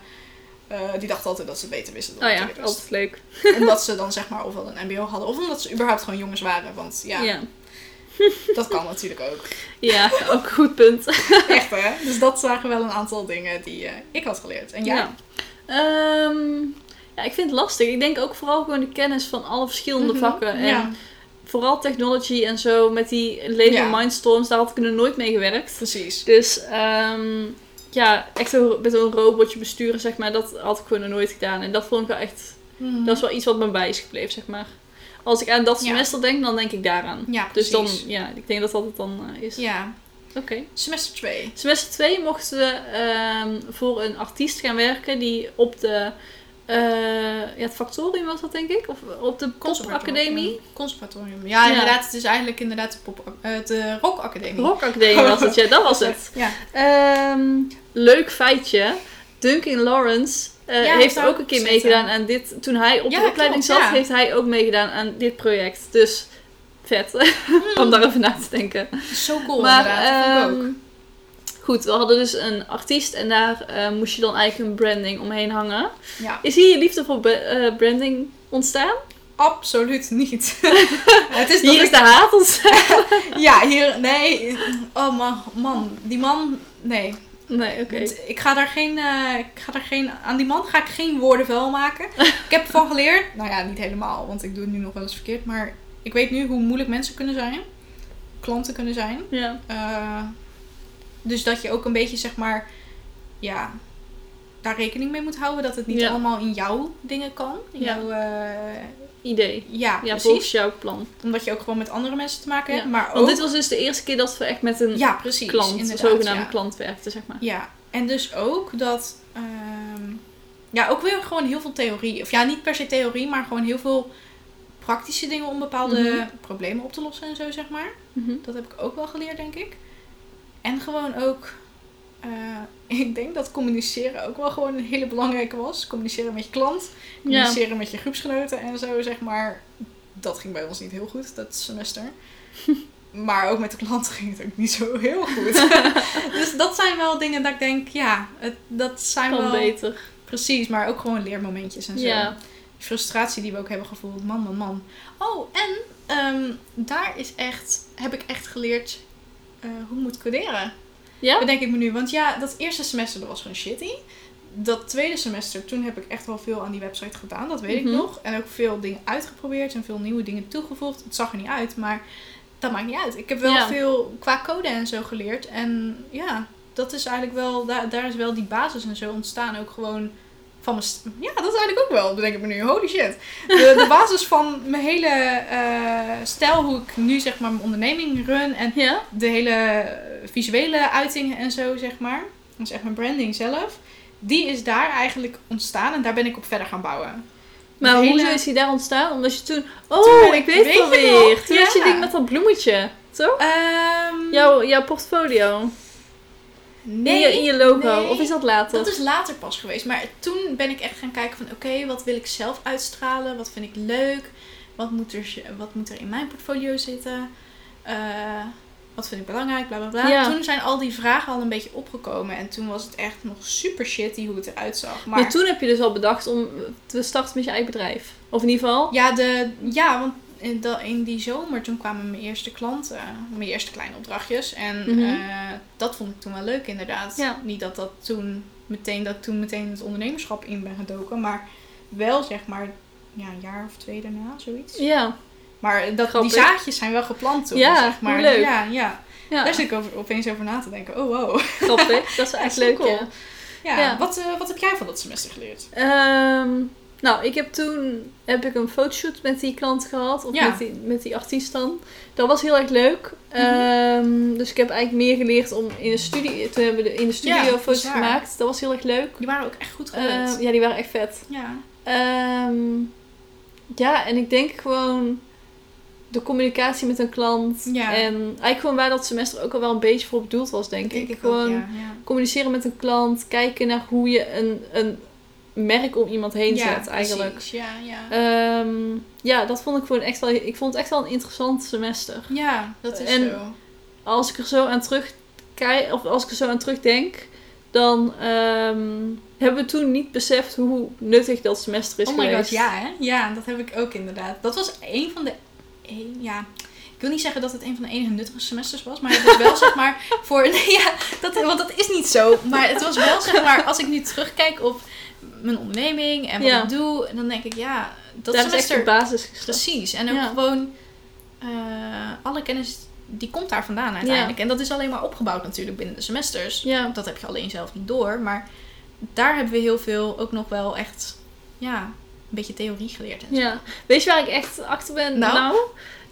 Speaker 2: eh, die dachten altijd dat ze het beter wisten dan
Speaker 1: Oh
Speaker 2: de
Speaker 1: ja,
Speaker 2: rest.
Speaker 1: altijd leuk.
Speaker 2: Omdat ze dan zeg maar ofwel een mbo hadden. Of omdat ze überhaupt gewoon jongens waren. Want ja,
Speaker 1: Ja, ja.
Speaker 2: dat kan natuurlijk ook.
Speaker 1: ook een goed punt.
Speaker 2: Echt hè? Dus dat zagen wel een aantal dingen die eh, ik had geleerd. En jij?
Speaker 1: Ja. Ehm, ja, ik vind het lastig. Ik denk ook vooral gewoon de kennis van alle verschillende
Speaker 2: Mhm.
Speaker 1: vakken. En
Speaker 2: Ja,
Speaker 1: vooral technology en zo, met die leven
Speaker 2: Ja.
Speaker 1: mindstorms, daar had ik er nooit mee gewerkt.
Speaker 2: precies.
Speaker 1: Dus ehm, ja, echt zo met zo'n robotje besturen, zeg maar, dat had ik gewoon nog nooit gedaan. En dat vond ik wel echt,
Speaker 2: Mhm.
Speaker 1: dat is wel iets wat me bij is gebleven, zeg maar. Als ik aan dat
Speaker 2: Ja.
Speaker 1: semester denk, dan denk ik daaraan.
Speaker 2: Ja,
Speaker 1: Dus
Speaker 2: precies.
Speaker 1: dan, ja, ik denk dat dat het dan eh, is.
Speaker 2: Ja,
Speaker 1: Oké.
Speaker 2: semester 2.
Speaker 1: Semester 2 mochten we ehm, voor een artiest gaan werken die op de. eh, ja, het Factorium was dat, denk ik? Of op de Popacademie?
Speaker 2: Conservatorium. Ja,
Speaker 1: Ja.
Speaker 2: inderdaad. Het is eigenlijk inderdaad de, pop, eh, de rockacademie. Oh.
Speaker 1: Rockacademie was het, ja, dat was het.
Speaker 2: Ja.
Speaker 1: Ehm, leuk feitje: Duncan Lawrence. eh,
Speaker 2: Ja,
Speaker 1: heeft
Speaker 2: zou
Speaker 1: ook een keer
Speaker 2: ik
Speaker 1: meegedaan
Speaker 2: zitten.
Speaker 1: aan dit. Toen hij op
Speaker 2: Ja,
Speaker 1: de opleiding
Speaker 2: klopt,
Speaker 1: zat,
Speaker 2: ja.
Speaker 1: heeft hij ook meegedaan aan dit project. Dus vet. Om daar even na te denken.
Speaker 2: Zo Hmm. cool
Speaker 1: maar
Speaker 2: inderdaad. dat vond ik
Speaker 1: ehm,
Speaker 2: ook.
Speaker 1: goed, we hadden dus een artiest en daar eh, moest je dan eigenlijk een branding omheen hangen.
Speaker 2: Ja,
Speaker 1: Is hier je liefde voor be- eh, branding ontstaan?
Speaker 2: absoluut niet. het is dat ik-
Speaker 1: Hier is de haat ontstaan?
Speaker 2: Ja, hier... Nee. Oh man, man. Die man... Nee.
Speaker 1: Nee, oké.
Speaker 2: Want Ik, ga daar geen, eh, ik ga daar geen... Aan die man ga ik geen woorden vuil maken. ik heb ervan geleerd... Nou ja, niet helemaal, want ik doe het nu nog wel eens verkeerd. Maar ik weet nu hoe moeilijk mensen kunnen zijn. Klanten kunnen zijn.
Speaker 1: Ja.
Speaker 2: Eh, dus dat je ook een beetje, zeg maar... Ja, daar rekening mee moet houden. Dat het niet
Speaker 1: Ja.
Speaker 2: allemaal in jouw dingen kan. In
Speaker 1: Ja.
Speaker 2: jouw, eh,
Speaker 1: Idee.
Speaker 2: ja,
Speaker 1: Ja,
Speaker 2: precies.
Speaker 1: volgens jouw plan.
Speaker 2: Omdat je ook gewoon met andere mensen te maken hebt.
Speaker 1: Ja.
Speaker 2: Maar ook...
Speaker 1: Want dit was dus de eerste keer dat we echt met een
Speaker 2: Oh. ja, precies.
Speaker 1: klant, een
Speaker 2: inderdaad,
Speaker 1: zogenaamde
Speaker 2: ja.
Speaker 1: klant werkten, zeg maar.
Speaker 2: Ja, en dus ook dat. ehm, ja, ook weer gewoon heel veel theorie. Of ja, niet per se theorie, maar gewoon heel veel praktische dingen om bepaalde
Speaker 1: Mhm.
Speaker 2: problemen op te lossen en zo, zeg maar.
Speaker 1: Mhm.
Speaker 2: Dat heb ik ook wel geleerd, denk ik. En gewoon ook. eh, ik denk dat communiceren ook wel gewoon een hele belangrijke was. Communiceren met je klant,
Speaker 1: Ja.
Speaker 2: communiceren met je groepsgenoten en zo, zeg maar. Dat ging bij ons niet heel goed, dat semester. Maar ook met de klanten ging het ook niet zo heel goed. dus dat zijn wel dingen dat ik denk, ja, het, dat zijn
Speaker 1: Kan
Speaker 2: wel...
Speaker 1: beter.
Speaker 2: Precies, maar ook gewoon leermomentjes en zo.
Speaker 1: Ja.
Speaker 2: Die frustratie die we ook hebben gevoeld, man, man, man. Oh, en ehm, daar is echt, heb ik echt geleerd eh, hoe ik moet coderen.
Speaker 1: Ja?
Speaker 2: Bedenk ik me nu. Want ja, dat eerste semester dat was gewoon shitty. Dat tweede semester, toen heb ik echt wel veel aan die website gedaan. Dat weet
Speaker 1: Mhm.
Speaker 2: ik nog. En ook veel dingen uitgeprobeerd en veel nieuwe dingen toegevoegd. Het zag er niet uit, maar dat maakt niet uit. Ik heb wel
Speaker 1: Ja.
Speaker 2: veel qua code en zo geleerd. En ja, dat is eigenlijk wel... Daar, daar is wel die basis en zo ontstaan. Ook gewoon van mijn... st- Ja, dat is eigenlijk ook wel, bedenk ik me nu. Holy shit. De, de basis van mijn hele eh, stijl, hoe ik nu zeg maar mijn onderneming run... en
Speaker 1: Ja?
Speaker 2: de hele eh, visuele uitingen en zo, zeg maar. Dat is echt mijn branding zelf. Die is daar eigenlijk ontstaan en daar ben ik op verder gaan bouwen.
Speaker 1: Maar
Speaker 2: Het hele-
Speaker 1: hoezo is die daar ontstaan? Omdat je toen...
Speaker 2: Toen
Speaker 1: Oh,
Speaker 2: ben
Speaker 1: ik
Speaker 2: ik- weet
Speaker 1: weet het
Speaker 2: je
Speaker 1: alweer.
Speaker 2: nog?
Speaker 1: Toen had je
Speaker 2: Ja.
Speaker 1: ding met dat bloemetje. Toch?
Speaker 2: Ehm,
Speaker 1: Jouw, jouw portfolio. In, je, in je logo.
Speaker 2: nee.
Speaker 1: Of is dat later?
Speaker 2: dat is later pas geweest. Maar toen ben ik echt gaan kijken van oké, wat wil ik zelf uitstralen? Wat vind ik leuk? Wat moet er, wat moet er in mijn portfolio zitten? Eh, wat vind ik belangrijk? Bla bla bla.
Speaker 1: Ja.
Speaker 2: Toen zijn al die vragen al een beetje opgekomen. En toen was het echt nog super shitty hoe het eruit zag.
Speaker 1: Maar toen heb je dus al bedacht om te starten met je eigen bedrijf. Of in ieder geval.
Speaker 2: Ja, de, ja, want in, da- in die zomer, toen kwamen mijn eerste klanten, mijn eerste kleine opdrachtjes. En
Speaker 1: Mhm.
Speaker 2: eh, dat vond ik toen wel leuk inderdaad.
Speaker 1: Ja.
Speaker 2: Niet dat, dat, toen meteen, dat ik toen meteen het ondernemerschap in ben gedoken, maar wel zeg maar ja, een jaar of twee daarna, zoiets.
Speaker 1: Ja.
Speaker 2: Maar dat, die
Speaker 1: Grappig.
Speaker 2: zaadjes zijn wel geplant toen,
Speaker 1: Ja,
Speaker 2: zeg maar.
Speaker 1: hoe leuk.
Speaker 2: Ja, ja.
Speaker 1: Ja,
Speaker 2: Daar zit ik over, opeens over na te denken. Oh, wow.
Speaker 1: grappig. Dat is
Speaker 2: Ja,
Speaker 1: echt
Speaker 2: is
Speaker 1: leuk,
Speaker 2: cool.
Speaker 1: ja.
Speaker 2: Ja,
Speaker 1: Ja.
Speaker 2: Wat, eh, wat heb jij van dat semester geleerd?
Speaker 1: Ehm, nou, ik heb toen heb ik een fotoshoot met die klant gehad. Of
Speaker 2: Ja. Mhm.
Speaker 1: met, die, met die artiest dan. Dat was heel erg leuk. Ehm, dus ik heb eigenlijk meer geleerd om in de studie... Toen hebben we de, in de
Speaker 2: Ja,
Speaker 1: studio
Speaker 2: dat is
Speaker 1: foto's
Speaker 2: waar.
Speaker 1: gemaakt. Dat was heel erg leuk.
Speaker 2: Die waren ook echt goed gelukt.
Speaker 1: Ehm, ja, die waren echt vet.
Speaker 2: ja.
Speaker 1: Ehm, ja, en ik denk gewoon de communicatie met een klant.
Speaker 2: Ja.
Speaker 1: En eigenlijk gewoon waar dat semester ook al wel een beetje voor bedoeld was, denk,
Speaker 2: Denk
Speaker 1: ik.
Speaker 2: ik ook,
Speaker 1: Gewoon
Speaker 2: ja, ja.
Speaker 1: communiceren met een klant, kijken naar hoe je een, een merk om iemand heen zet eigenlijk.
Speaker 2: precies. Ja, ja.
Speaker 1: Ehm, ja, dat vond ik gewoon echt wel. Ik vond het echt wel een interessant semester.
Speaker 2: ja, dat is
Speaker 1: en-
Speaker 2: zo.
Speaker 1: Als ik er zo aan terugkijk, of als ik er zo aan terugdenk, dan ehm, hebben we toen niet beseft hoe nuttig dat semester is
Speaker 2: Oh my
Speaker 1: dus geweest.
Speaker 2: god, ja hè? Ja, dat heb ik ook inderdaad. Dat was een van de... een- ja, ik wil niet zeggen dat het een van de enige nuttige semesters was. Maar het was wel zeg maar voor... Nee, ja, dat, want dat is niet zo. Maar het was wel zeg maar... Als ik nu terugkijk op mijn onderneming en wat
Speaker 1: Ja.
Speaker 2: ik doe. Dan denk ik, ja, dat
Speaker 1: dat Daar is echt
Speaker 2: semester...
Speaker 1: de basis gesteld.
Speaker 2: Precies. En ook
Speaker 1: Ja.
Speaker 2: gewoon eh, alle kennis... Die komt daar vandaan uiteindelijk. En dat is alleen maar opgebouwd natuurlijk binnen de semesters.
Speaker 1: Ja,
Speaker 2: Dat heb je alleen zelf niet door. Maar daar hebben we heel veel ook nog wel echt, ja, een beetje theorie geleerd. En zo.
Speaker 1: ja. Weet je waar ik echt achter ben
Speaker 2: Nou?
Speaker 1: nou?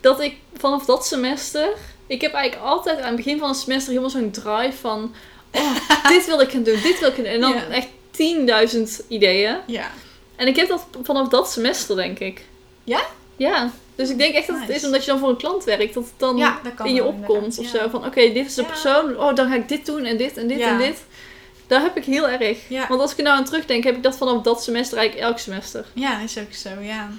Speaker 1: Dat ik vanaf dat semester... Ik heb eigenlijk altijd aan het begin van het semester helemaal zo'n drive van... Oh, dit wil ik gaan doen, dit wil ik gaan doen. En dan
Speaker 2: Ja.
Speaker 1: echt 10.000 ideeën.
Speaker 2: Ja.
Speaker 1: En ik heb dat vanaf dat semester, denk ik.
Speaker 2: Ja?
Speaker 1: Ja. Dus ik denk echt dat het
Speaker 2: Nice.
Speaker 1: is omdat je dan voor een klant werkt. Dat het dan
Speaker 2: Ja, dat kan
Speaker 1: in je
Speaker 2: wel,
Speaker 1: opkomt
Speaker 2: inderdaad.
Speaker 1: of
Speaker 2: Ja.
Speaker 1: zo. Van oké, dit is de
Speaker 2: Ja.
Speaker 1: persoon. Oh, dan ga ik dit doen en dit en dit
Speaker 2: Ja.
Speaker 1: en dit. Daar heb ik heel erg.
Speaker 2: Ja.
Speaker 1: Want als ik er nou aan terugdenk, heb ik dat vanaf dat semester eigenlijk elk semester.
Speaker 2: ja, is ook zo, ja.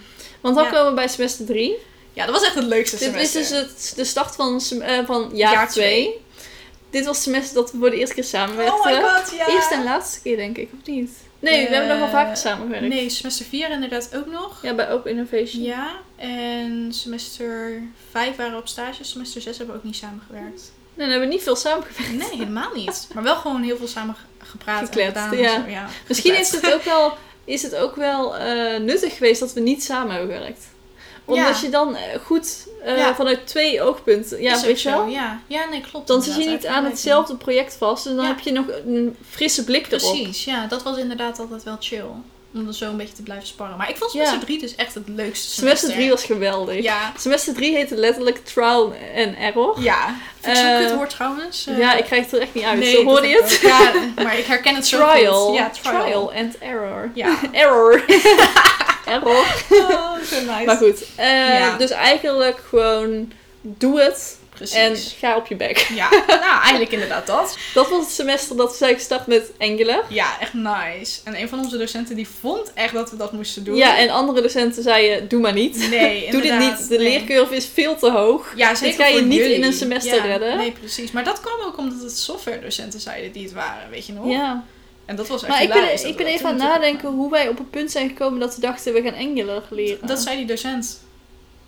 Speaker 1: Want dan
Speaker 2: Ja.
Speaker 1: komen we bij semester 3.
Speaker 2: Ja, dat was echt het leukste
Speaker 1: Dit is
Speaker 2: semester.
Speaker 1: dus het, de start van, sem- eh, van jaar
Speaker 2: Jaar
Speaker 1: 2. Dit was het semester dat we voor de eerste keer
Speaker 2: Oh
Speaker 1: samenwerkten.
Speaker 2: my god, ja.
Speaker 1: eh, Eerste en laatste keer, denk ik, of niet? Nee, we
Speaker 2: Eh,
Speaker 1: hebben nog wel vaker samengewerkt.
Speaker 2: Nee, semester 4 inderdaad ook nog.
Speaker 1: Ja, bij Open Innovation.
Speaker 2: Ja, en semester 5 waren we op stage, semester 6 hebben we ook niet samengewerkt.
Speaker 1: Nee, dan hebben we niet veel samengewerkt.
Speaker 2: Nee, helemaal niet. Maar wel gewoon heel veel samen ge- gepraat
Speaker 1: Gekletst,
Speaker 2: en gedaan.
Speaker 1: ja.
Speaker 2: En zo, ja.
Speaker 1: Misschien is
Speaker 2: Gekletst.
Speaker 1: het ook wel, is het ook wel eh, nuttig geweest dat we niet samen hebben gewerkt. Omdat
Speaker 2: Ja.
Speaker 1: je dan eh, goed eh,
Speaker 2: Ja.
Speaker 1: vanuit twee oogpunten, ja,
Speaker 2: Is ook
Speaker 1: weet je
Speaker 2: zo,
Speaker 1: wel.
Speaker 2: Ja. ja, nee, klopt.
Speaker 1: Dan zit je
Speaker 2: inderdaad,
Speaker 1: niet
Speaker 2: daar
Speaker 1: aan
Speaker 2: heb je gelijk in.
Speaker 1: hetzelfde project vast en dan
Speaker 2: Ja.
Speaker 1: heb je nog een frisse blik erop.
Speaker 2: Precies, ja. Dat was inderdaad altijd wel chill. Om er zo een beetje te blijven sparren. Maar ik vond
Speaker 1: Ja.
Speaker 2: semester 3 dus echt het leukste semester.
Speaker 1: Semester 3 was geweldig.
Speaker 2: Ja.
Speaker 1: Semester 3 heette letterlijk trial and error.
Speaker 2: Ja. Vind je
Speaker 1: Eh,
Speaker 2: zo'n kut woord trouwens? Eh,
Speaker 1: Ja, ik krijg het er echt niet uit.
Speaker 2: nee,
Speaker 1: Zo hoorde
Speaker 2: dat
Speaker 1: je
Speaker 2: heb
Speaker 1: het?
Speaker 2: ik ook. Ja, maar ik herken het zo goed.
Speaker 1: Trial.
Speaker 2: Ja, trial.
Speaker 1: trial. and error.
Speaker 2: Ja.
Speaker 1: Error. error.
Speaker 2: Oh, zo nice.
Speaker 1: Maar goed, eh,
Speaker 2: Ja.
Speaker 1: dus eigenlijk gewoon doe het en
Speaker 2: Precies.
Speaker 1: ga op je bek.
Speaker 2: Ja, nou eigenlijk inderdaad dat.
Speaker 1: Dat was het semester dat we zijn gestart met Angular.
Speaker 2: Ja, echt nice. En een van onze docenten die vond echt dat we dat moesten doen.
Speaker 1: Ja, en andere docenten zeiden, doe maar niet.
Speaker 2: Nee,
Speaker 1: doe dit
Speaker 2: inderdaad,
Speaker 1: niet, de
Speaker 2: nee.
Speaker 1: leercurve is veel te hoog.
Speaker 2: Ja, zeker
Speaker 1: ga je
Speaker 2: voor
Speaker 1: niet
Speaker 2: jullie.
Speaker 1: in een semester
Speaker 2: Ja,
Speaker 1: redden.
Speaker 2: Nee, precies. Maar dat kwam ook omdat het softwaredocenten zeiden die het waren, weet je nog?
Speaker 1: Ja,
Speaker 2: En Oh, dat was echt
Speaker 1: maar ik
Speaker 2: hilarisch
Speaker 1: ben,
Speaker 2: dat
Speaker 1: ik
Speaker 2: we
Speaker 1: ben
Speaker 2: dat
Speaker 1: even
Speaker 2: toen
Speaker 1: aan het
Speaker 2: natuurlijk
Speaker 1: nadenken hoe wij op het punt zijn gekomen dat we dachten, we gaan Angular leren.
Speaker 2: Dat zei die docent.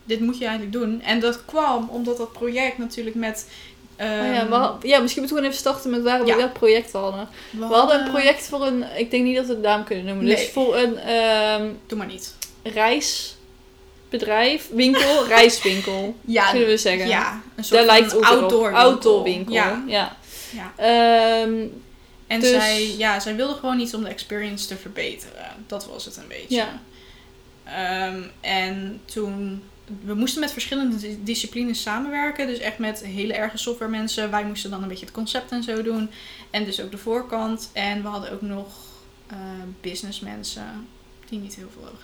Speaker 2: Dit moet je eigenlijk doen. En dat kwam omdat dat project natuurlijk met. ehm,
Speaker 1: Oh ja, we had- ja, misschien moeten we gewoon even starten met waar
Speaker 2: Ja.
Speaker 1: we dat project hadden.
Speaker 2: we
Speaker 1: We
Speaker 2: hadden-
Speaker 1: hadden een project voor een, ik denk niet dat we de naam kunnen noemen,
Speaker 2: Nee.
Speaker 1: dus voor een ehm,
Speaker 2: Doe maar niet.
Speaker 1: reisbedrijf, winkel, reiswinkel.
Speaker 2: Ja,
Speaker 1: kunnen we zeggen.
Speaker 2: ja een soort
Speaker 1: Daar
Speaker 2: van
Speaker 1: lijkt het ook weer op.
Speaker 2: outdoor winkel.
Speaker 1: outdoor winkel.
Speaker 2: Ja.
Speaker 1: Ja.
Speaker 2: Ja.
Speaker 1: Ehm,
Speaker 2: En
Speaker 1: Dus-
Speaker 2: zij, ja, zij wilde gewoon iets om de experience te verbeteren. Dat was het een beetje.
Speaker 1: Ja.
Speaker 2: Ehm, en toen. We moesten met verschillende di- disciplines samenwerken. Dus echt met hele erge software mensen. Wij moesten dan een beetje het concept en zo doen. En dus ook de voorkant. En we hadden ook nog eh businessmensen. Die niet heel veel hadden.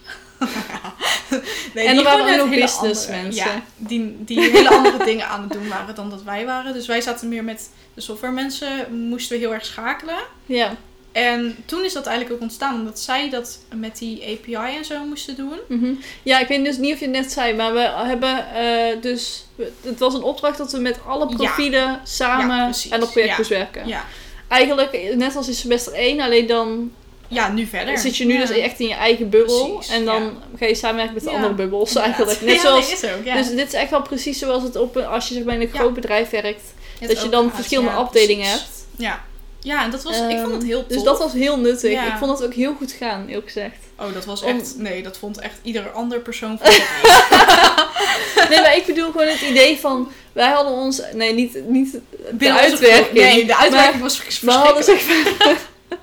Speaker 2: nee,
Speaker 1: En
Speaker 2: die
Speaker 1: er
Speaker 2: gewoon
Speaker 1: waren ook
Speaker 2: net
Speaker 1: nog
Speaker 2: hele
Speaker 1: businessmensen.
Speaker 2: andere- Ja, die, die hele andere dingen aan het doen waren dan dat wij waren. Dus wij zaten meer met de software mensen. Moesten we heel erg schakelen.
Speaker 1: ja.
Speaker 2: En toen is dat eigenlijk ook ontstaan, omdat zij dat met die API en zo moesten doen.
Speaker 1: mhm. ja, ik weet dus niet of je het net zei, maar we hebben eh, dus... we- Het was een opdracht dat we met alle
Speaker 2: Ja.
Speaker 1: profielen samen
Speaker 2: Ja, precies.
Speaker 1: aan dat project
Speaker 2: Ja.
Speaker 1: moesten werken.
Speaker 2: Ja,
Speaker 1: Eigenlijk eh, net als in semester 1, alleen dan
Speaker 2: ja, nu verder.
Speaker 1: Zit je nu
Speaker 2: Ja.
Speaker 1: dus echt in je eigen bubbel
Speaker 2: Precies,
Speaker 1: en dan ga je samenwerken met de
Speaker 2: Ja.
Speaker 1: andere bubbels eigenlijk.
Speaker 2: Ja,
Speaker 1: Net
Speaker 2: nee,
Speaker 1: zoals,
Speaker 2: is ook, ja.
Speaker 1: Dus dit is echt wel precies zoals het op een, als je zeg maar in een
Speaker 2: Ja.
Speaker 1: groot bedrijf werkt.
Speaker 2: Het
Speaker 1: dat je
Speaker 2: ook
Speaker 1: dan
Speaker 2: gaat,
Speaker 1: verschillende
Speaker 2: ja,
Speaker 1: afdelingen
Speaker 2: precies.
Speaker 1: hebt.
Speaker 2: Ja. Ja, en dat was, ik vond het
Speaker 1: Ehm,
Speaker 2: heel tof.
Speaker 1: Dus dat was heel nuttig.
Speaker 2: Ja.
Speaker 1: Ik vond het ook heel goed gaan, eerlijk gezegd.
Speaker 2: Oh, dat was
Speaker 1: Om-
Speaker 2: echt... Nee, dat vond echt ieder ander persoon vond dat niet.
Speaker 1: Nee, maar ik bedoel gewoon het idee van... Wij hadden ons... Nee, niet, niet de
Speaker 2: Binnen onze groep-
Speaker 1: uitwerking.
Speaker 2: Nee, de uitwerking
Speaker 1: maar
Speaker 2: was
Speaker 1: We hadden
Speaker 2: verschrikkelijk.
Speaker 1: zeg maar...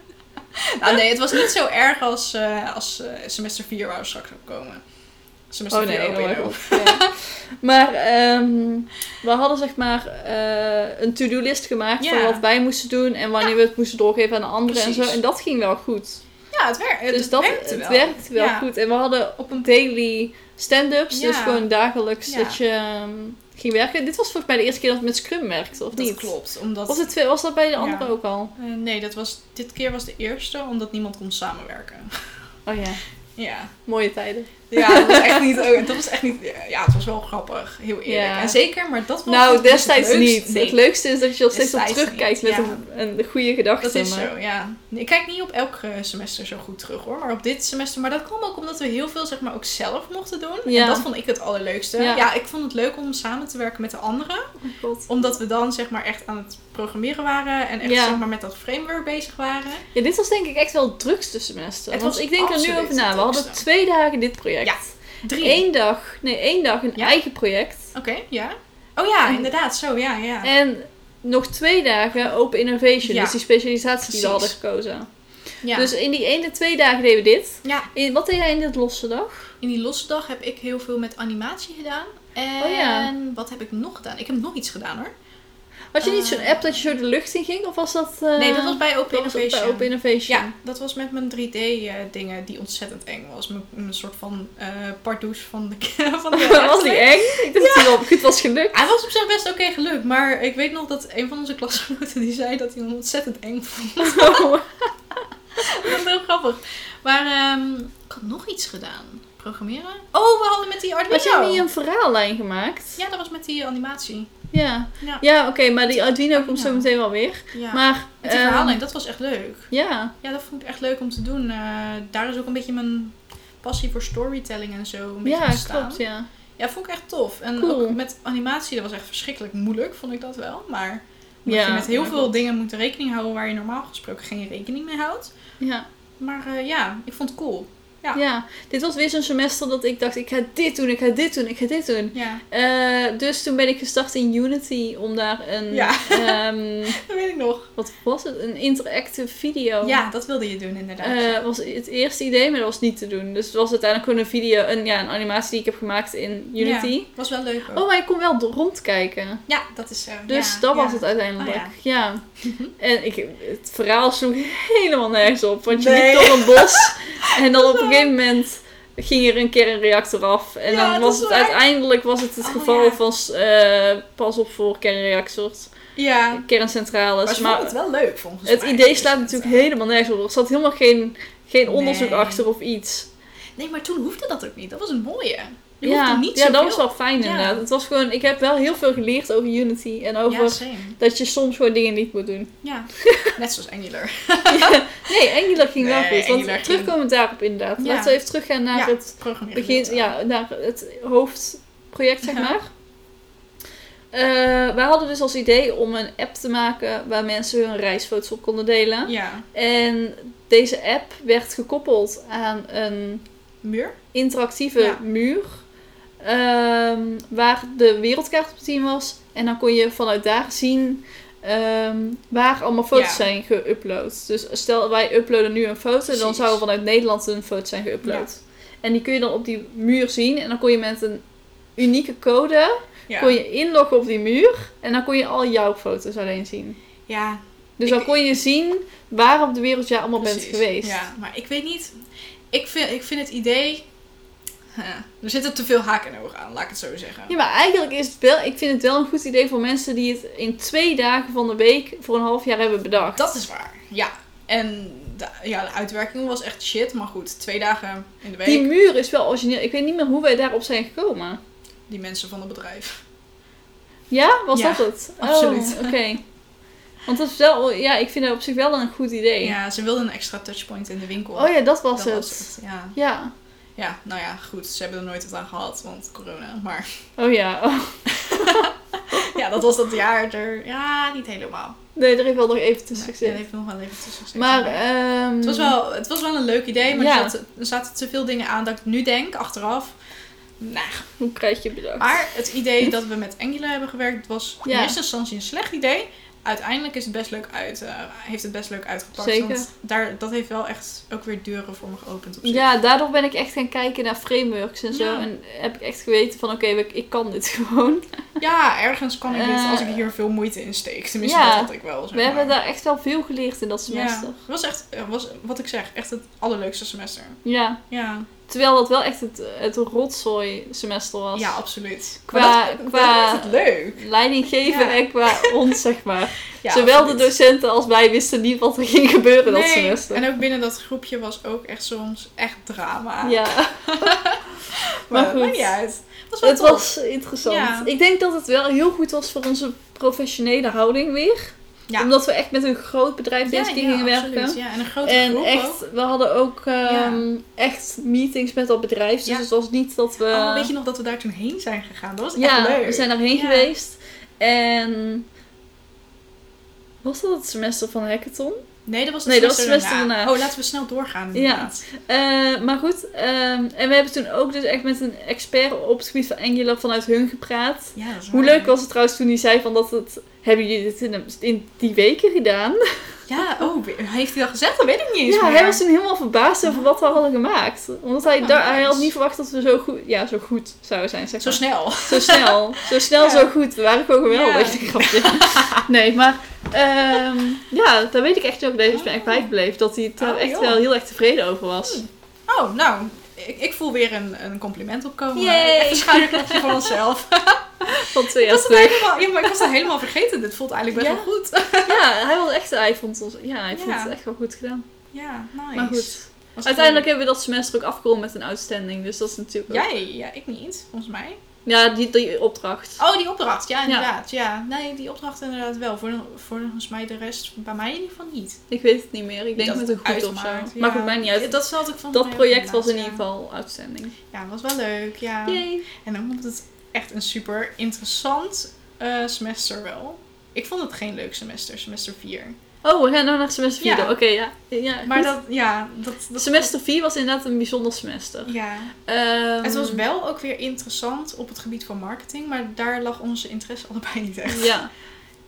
Speaker 2: Nou, nee, het was niet zo erg als, eh, als eh, semester 4 waar we straks op komen. Semester
Speaker 1: Oh nee,
Speaker 2: 4
Speaker 1: oh
Speaker 2: OPO.
Speaker 1: mijn god. Ja. Maar ehm, we hadden zeg maar eh, een to-do-list gemaakt
Speaker 2: Ja.
Speaker 1: van wat wij moesten doen. En wanneer we het moesten doorgeven aan de anderen en
Speaker 2: Precies.
Speaker 1: zo. En dat ging wel goed.
Speaker 2: Ja, het, wer- het
Speaker 1: dus dat
Speaker 2: werkte wel.
Speaker 1: het werkte wel
Speaker 2: Ja.
Speaker 1: goed. En we hadden op een daily stand-ups, dus
Speaker 2: Ja.
Speaker 1: gewoon dagelijks
Speaker 2: Ja.
Speaker 1: dat je ehm, ging werken. Dit was volgens mij de eerste keer dat het met Scrum werkte, of
Speaker 2: Dat
Speaker 1: niet?
Speaker 2: klopt, omdat...
Speaker 1: Of de twee, was dat bij de
Speaker 2: Ja.
Speaker 1: andere ook al?
Speaker 2: Eh, nee, dat was, dit keer was de eerste, omdat niemand kon samenwerken.
Speaker 1: Oh ja,
Speaker 2: ja.
Speaker 1: mooie tijden.
Speaker 2: Ja, dat was echt niet... oh, Dat was echt niet ja, het was wel grappig. Heel eerlijk.
Speaker 1: Ja.
Speaker 2: En zeker, maar dat was...
Speaker 1: nou,
Speaker 2: dat was het
Speaker 1: destijds
Speaker 2: leukste-
Speaker 1: niet.
Speaker 2: Nee,
Speaker 1: Het leukste is dat je er steeds op
Speaker 2: Destijds
Speaker 1: terugkijkt
Speaker 2: niet,
Speaker 1: met
Speaker 2: ja.
Speaker 1: een, een goede gedachte.
Speaker 2: Dat is
Speaker 1: maar-
Speaker 2: zo, ja. Ik kijk niet op elk eh, semester zo goed terug hoor, maar op dit semester. Maar dat kwam ook omdat we heel veel zeg maar ook zelf mochten doen.
Speaker 1: Ja.
Speaker 2: En dat vond ik het allerleukste.
Speaker 1: Ja.
Speaker 2: Ja. ik vond het leuk om samen te werken met de anderen.
Speaker 1: Oh God.
Speaker 2: Omdat we dan zeg maar echt aan het programmeren waren en echt
Speaker 1: Ja.
Speaker 2: zeg maar met dat framework bezig waren.
Speaker 1: Ja, dit was denk ik echt wel het drukste semester.
Speaker 2: Het
Speaker 1: want
Speaker 2: was
Speaker 1: ik denk er nu
Speaker 2: absoluut
Speaker 1: over na.
Speaker 2: het
Speaker 1: We hadden
Speaker 2: drukste.
Speaker 1: twee dagen dit project.
Speaker 2: Ja, Drie.
Speaker 1: Eén dag, nee, één dag een
Speaker 2: Ja.
Speaker 1: eigen project.
Speaker 2: Oké, ja. Oh ja, inderdaad, zo, ja, ja.
Speaker 1: En nog twee dagen Open Innovation.
Speaker 2: Ja.
Speaker 1: Dus die specialisatie die
Speaker 2: Precies.
Speaker 1: we hadden gekozen.
Speaker 2: ja.
Speaker 1: Dus in die ene, twee dagen deden we dit.
Speaker 2: ja,
Speaker 1: In, wat deed jij in dit losse dag?
Speaker 2: in die losse dag heb ik heel veel met animatie gedaan. En
Speaker 1: Oh ja.
Speaker 2: wat heb ik nog gedaan? Ik heb nog iets gedaan hoor.
Speaker 1: Had je niet
Speaker 2: Eh.
Speaker 1: zo'n app dat je zo de lucht in ging? Of was dat... eh,
Speaker 2: nee, dat was bij Open
Speaker 1: dat was op- bij
Speaker 2: Innovation.
Speaker 1: Open Innovation.
Speaker 2: Ja, dat was met mijn 3D-dingen die ontzettend eng was. Mijn- Mijn soort van eh partouche van de van de
Speaker 1: was die
Speaker 2: rechter.
Speaker 1: eng? Ik dacht dat die wel goed was gelukt.
Speaker 2: Hij was op zich best oké gelukt, maar ik weet nog dat een van onze klasgenoten die zei dat hij hem ontzettend eng vond.
Speaker 1: Oh.
Speaker 2: dat was heel grappig. Maar ehm, ik had nog iets gedaan. Programmeren? Oh, we hadden met die
Speaker 1: Had
Speaker 2: Arduino.
Speaker 1: jij niet een verhaallijn gemaakt?
Speaker 2: Ja, dat was met die animatie.
Speaker 1: Ja,
Speaker 2: Ja.
Speaker 1: ja oké, maar die Arduino komt zo
Speaker 2: Ja.
Speaker 1: meteen wel weer.
Speaker 2: Ja.
Speaker 1: Maar,
Speaker 2: met die
Speaker 1: ehm,
Speaker 2: verhaallijn, dat was echt leuk.
Speaker 1: Ja,
Speaker 2: Ja, dat vond ik echt leuk om te doen. Eh, daar is ook een beetje mijn passie voor storytelling en zo een beetje
Speaker 1: ja
Speaker 2: ontstaan.
Speaker 1: klopt, ja.
Speaker 2: Ja, vond ik echt tof. En
Speaker 1: Cool.
Speaker 2: ook met animatie, dat was echt verschrikkelijk moeilijk, vond ik dat wel. Maar omdat
Speaker 1: Ja,
Speaker 2: je met heel
Speaker 1: maar
Speaker 2: veel
Speaker 1: goed.
Speaker 2: dingen moet rekening houden waar je normaal gesproken geen rekening mee houdt.
Speaker 1: Ja,
Speaker 2: Maar eh, ja, ik vond het cool. Ja.
Speaker 1: ja. dit was weer zo'n semester dat ik dacht, ik ga dit doen, ik ga dit doen, ik ga dit doen.
Speaker 2: Ja,
Speaker 1: Eh, dus toen ben ik gestart in Unity om daar een,
Speaker 2: Ja.
Speaker 1: ehm,
Speaker 2: dat weet ik nog.
Speaker 1: wat was het, een interactive video.
Speaker 2: Ja, dat wilde je doen inderdaad.
Speaker 1: Oh. Eh, was het eerste idee, maar dat was niet te doen. Dus het was uiteindelijk gewoon een video, een, ja, een animatie die ik heb gemaakt in Unity.
Speaker 2: Ja, was wel leuk ook.
Speaker 1: Oh, maar ik kon wel rondkijken.
Speaker 2: Ja, dat is zo.
Speaker 1: Dus
Speaker 2: ja,
Speaker 1: dat
Speaker 2: ja.
Speaker 1: was het uiteindelijk.
Speaker 2: Oh,
Speaker 1: ja. En ik, het verhaal sloeg helemaal nergens op. Want je
Speaker 2: Nee.
Speaker 1: liep door een bos. en dan op een gegeven moment ging er een keer een reactor af. En
Speaker 2: Ja,
Speaker 1: dan
Speaker 2: dat
Speaker 1: was
Speaker 2: is
Speaker 1: het
Speaker 2: waar.
Speaker 1: uiteindelijk was het, het
Speaker 2: Oh,
Speaker 1: geval
Speaker 2: ja.
Speaker 1: van eh, pas op voor kernreactors.
Speaker 2: Ja, maar
Speaker 1: Kerncentrales.
Speaker 2: ze
Speaker 1: Maar,
Speaker 2: vond het wel leuk volgens
Speaker 1: het
Speaker 2: mij.
Speaker 1: idee slaat natuurlijk helemaal nergens op. Er zat helemaal geen, geen onderzoek
Speaker 2: Nee.
Speaker 1: achter of iets.
Speaker 2: Nee, maar toen hoefde dat ook niet. Dat was een mooie. Je
Speaker 1: ja,
Speaker 2: hoefde niet
Speaker 1: ja dat
Speaker 2: zoveel.
Speaker 1: was wel fijn
Speaker 2: Ja.
Speaker 1: inderdaad. Het was gewoon, ik heb wel heel veel geleerd over Unity. En over
Speaker 2: Ja, same.
Speaker 1: dat je soms gewoon dingen niet moet doen.
Speaker 2: Ja, net zoals Angular.
Speaker 1: Nee, Angular ging wel
Speaker 2: Nee,
Speaker 1: goed. Want
Speaker 2: Angular
Speaker 1: terugkomend daarop inderdaad.
Speaker 2: Ja.
Speaker 1: Laten we even teruggaan naar
Speaker 2: Ja.
Speaker 1: het
Speaker 2: Programmeren.
Speaker 1: begin, ja, naar het hoofdproject, zeg
Speaker 2: Ja.
Speaker 1: maar. Eh, wij hadden dus als idee om een app te maken waar mensen hun reisfoto's op konden delen.
Speaker 2: Ja.
Speaker 1: En deze app werd gekoppeld aan een
Speaker 2: Muur?
Speaker 1: interactieve
Speaker 2: Ja.
Speaker 1: muur. ehm, waar de wereldkaart op te zien was. En dan kon je vanuit daar zien ehm, waar allemaal foto's
Speaker 2: Ja.
Speaker 1: zijn geüpload. Dus stel wij uploaden nu een foto, dan
Speaker 2: Precies.
Speaker 1: zou er vanuit Nederland een foto zijn geüpload. En die kun je dan op die muur zien. En dan kon je met een unieke code
Speaker 2: Ja.
Speaker 1: kon je inloggen op die muur. En dan kon je al jouw foto's alleen zien.
Speaker 2: ja,
Speaker 1: Dus
Speaker 2: Ik-
Speaker 1: dan kon je zien waar op de wereld jij allemaal bent
Speaker 2: Precies.
Speaker 1: geweest.
Speaker 2: Ja, maar ik weet niet. Ik vind, ik vind het idee. Huh, er zitten te veel haken en ogen aan, laat ik het zo zeggen.
Speaker 1: Ja, maar eigenlijk is het wel, ik vind het wel een goed idee voor mensen die het in twee dagen van de week voor een half jaar hebben bedacht.
Speaker 2: Dat is waar. Ja. En de, ja, de uitwerking was echt shit. Maar goed, twee dagen in de week.
Speaker 1: Die
Speaker 2: Die,
Speaker 1: muur is wel origineel. Ik weet niet meer hoe wij daarop zijn gekomen.
Speaker 2: mensen van het bedrijf.
Speaker 1: Ja, was
Speaker 2: Ja,
Speaker 1: dat het? Oh,
Speaker 2: absoluut.
Speaker 1: Oké. Want dat is wel, ja, ik vind dat op zich wel een goed idee.
Speaker 2: Ja, ze wilden een extra touchpoint in de winkel.
Speaker 1: Oh ja, dat was
Speaker 2: Dat
Speaker 1: het.
Speaker 2: was het, Ja.
Speaker 1: Ja.
Speaker 2: ja, nou ja, goed. Ze hebben er nooit wat aan gehad, want corona. Maar
Speaker 1: Oh ja. Oh.
Speaker 2: ja, dat was dat jaar er. Ja, niet helemaal.
Speaker 1: Nee, er heeft wel nog even tussen
Speaker 2: Nee, dat
Speaker 1: gezeten.
Speaker 2: heeft nog wel even tussen gezeten.
Speaker 1: Maar, ehm
Speaker 2: het, was wel, het was wel een leuk idee, maar
Speaker 1: Ja.
Speaker 2: er, zaten, er zaten te veel dingen aan dat ik nu denk, achteraf. Nou,
Speaker 1: Hoe krijg je bedacht?
Speaker 2: Maar het idee dat we met Angular hebben gewerkt was in
Speaker 1: Ja.
Speaker 2: eerste instantie een slecht idee. Uiteindelijk is het best leuk uit, eh, heeft het best leuk uitgepakt.
Speaker 1: Zeker.
Speaker 2: Want daar, dat heeft wel echt ook weer deuren voor me geopend. Op zich.
Speaker 1: Ja, daardoor ben ik echt gaan kijken naar frameworks en zo.
Speaker 2: Ja.
Speaker 1: En heb ik echt geweten van, oké, ik, ik kan dit gewoon.
Speaker 2: Ja, ergens kan ik dit
Speaker 1: Eh,
Speaker 2: als ik hier veel moeite in steek. Tenminste,
Speaker 1: ja.
Speaker 2: dat had ik wel. Zeg
Speaker 1: We hebben
Speaker 2: maar.
Speaker 1: daar echt wel veel geleerd in dat semester.
Speaker 2: Ja, het was echt, eh, was, wat ik zeg, echt het allerleukste semester.
Speaker 1: Ja.
Speaker 2: Ja,
Speaker 1: Terwijl dat wel echt het, het rotzooi semester was.
Speaker 2: ja absoluut.
Speaker 1: Qua-
Speaker 2: Maar dat,
Speaker 1: qua-
Speaker 2: dat maakt het leuk.
Speaker 1: Leiding geven
Speaker 2: Ja.
Speaker 1: en qua ons, zeg maar.
Speaker 2: Ja,
Speaker 1: Zowel
Speaker 2: absoluut.
Speaker 1: de docenten als wij wisten niet wat er ging gebeuren dus dat
Speaker 2: Nee,
Speaker 1: semester.
Speaker 2: En ook binnen dat groepje was ook echt soms echt drama.
Speaker 1: Ja,
Speaker 2: maar
Speaker 1: maar
Speaker 2: dat
Speaker 1: goed.
Speaker 2: maakt niet uit. Het was wel
Speaker 1: het
Speaker 2: tof.
Speaker 1: was interessant.
Speaker 2: Ja.
Speaker 1: Ik denk dat het wel heel goed was voor onze professionele houding weer.
Speaker 2: Ja.
Speaker 1: Omdat we echt met een groot
Speaker 2: Ja,
Speaker 1: bedrijf deze keer
Speaker 2: ja,
Speaker 1: gingen
Speaker 2: absoluut.
Speaker 1: werken.
Speaker 2: Ja, en een grote
Speaker 1: En
Speaker 2: groep
Speaker 1: echt,
Speaker 2: ook.
Speaker 1: we hadden ook ehm, echt meetings met dat bedrijf. Dus
Speaker 2: Ja.
Speaker 1: het was niet dat we...
Speaker 2: Oh, weet je nog dat we daar toen heen zijn gegaan? Dat was
Speaker 1: eh, ja,
Speaker 2: echt leuk.
Speaker 1: we zijn daarheen
Speaker 2: Ja.
Speaker 1: geweest. En... Was dat het semester van Hackathon?
Speaker 2: Nee, dat was het
Speaker 1: Nee, dat was
Speaker 2: semester,
Speaker 1: het semester
Speaker 2: daarna.
Speaker 1: daarna.
Speaker 2: Oh, laten we snel doorgaan inderdaad.
Speaker 1: Eh, maar goed, ehm, en we hebben toen ook dus echt met een expert op het gebied van Angular vanuit hun gepraat.
Speaker 2: Ja, dat is
Speaker 1: Hoe
Speaker 2: waar.
Speaker 1: leuk was het trouwens toen hij zei van dat het... Hebben jullie dit in, de- in die weken gedaan?
Speaker 2: Ja, oh, we- heeft hij dat gezegd? Dat weet ik niet eens
Speaker 1: Ja,
Speaker 2: meer.
Speaker 1: hij was toen helemaal verbaasd over wat we hadden gemaakt. Omdat hij,
Speaker 2: Ah,
Speaker 1: daar, hij had
Speaker 2: nice.
Speaker 1: niet verwacht dat we zo goed, ja, zo goed zouden zijn. Zeg
Speaker 2: Zo
Speaker 1: maar.
Speaker 2: snel.
Speaker 1: Zo snel. Zo snel,
Speaker 2: Ja.
Speaker 1: zo goed. We waren gewoon geweldig.
Speaker 2: Ja.
Speaker 1: Ja. Grapje. Nee, maar ehm, ja, daar weet ik echt ook dat ik ben echt
Speaker 2: Oh.
Speaker 1: bijgebleven. Dat hij daar
Speaker 2: Oh,
Speaker 1: echt
Speaker 2: joh.
Speaker 1: wel heel erg tevreden over was.
Speaker 2: Oh, nou, ik, ik voel weer een, een compliment opkomen.
Speaker 1: Yay.
Speaker 2: Even een schouderklopje van onszelf.
Speaker 1: Van twee
Speaker 2: Ik
Speaker 1: jaar
Speaker 2: was dat
Speaker 1: terug.
Speaker 2: helemaal, ja, maar ik was dat helemaal vergeten. Dit voelt eigenlijk best
Speaker 1: Ja.
Speaker 2: wel goed.
Speaker 1: Ja, hij, was echt, hij vond, ons, ja, hij vond
Speaker 2: Ja.
Speaker 1: het echt wel goed gedaan.
Speaker 2: Ja, nice.
Speaker 1: Maar goed,
Speaker 2: Was
Speaker 1: uiteindelijk
Speaker 2: goed.
Speaker 1: hebben we dat semester ook afgerond met een outstanding. Dus dat is natuurlijk ook-
Speaker 2: Jij? Ja, ik niet, volgens mij.
Speaker 1: Ja, die, die opdracht.
Speaker 2: Oh, die opdracht. Ja, inderdaad. Ja. Nee, die opdracht inderdaad wel. Voor, voor volgens mij de rest, bij mij in ieder geval niet.
Speaker 1: Ik weet het niet meer. Ik denk
Speaker 2: Dat
Speaker 1: met een goed of zo.
Speaker 2: uitmaakt, ja.
Speaker 1: Maakt het mij niet uit.
Speaker 2: Dat, zat ik van
Speaker 1: Dat project was in ieder geval uitzending.
Speaker 2: Ja, was wel leuk. Ja.
Speaker 1: Yay.
Speaker 2: En ook omdat het echt een super interessant eh, semester wel. Ik vond het geen leuk semester, semester 4.
Speaker 1: Oh, we gaan nou naar semester 4.
Speaker 2: Ja.
Speaker 1: Oké, ja. ja
Speaker 2: Maar
Speaker 1: goed.
Speaker 2: dat, ja, dat... dat
Speaker 1: Semester 4 was inderdaad een bijzonder semester.
Speaker 2: Ja.
Speaker 1: Ehm,
Speaker 2: Het was wel ook weer interessant op het gebied van marketing, maar daar lag onze interesse allebei niet echt.
Speaker 1: Ja,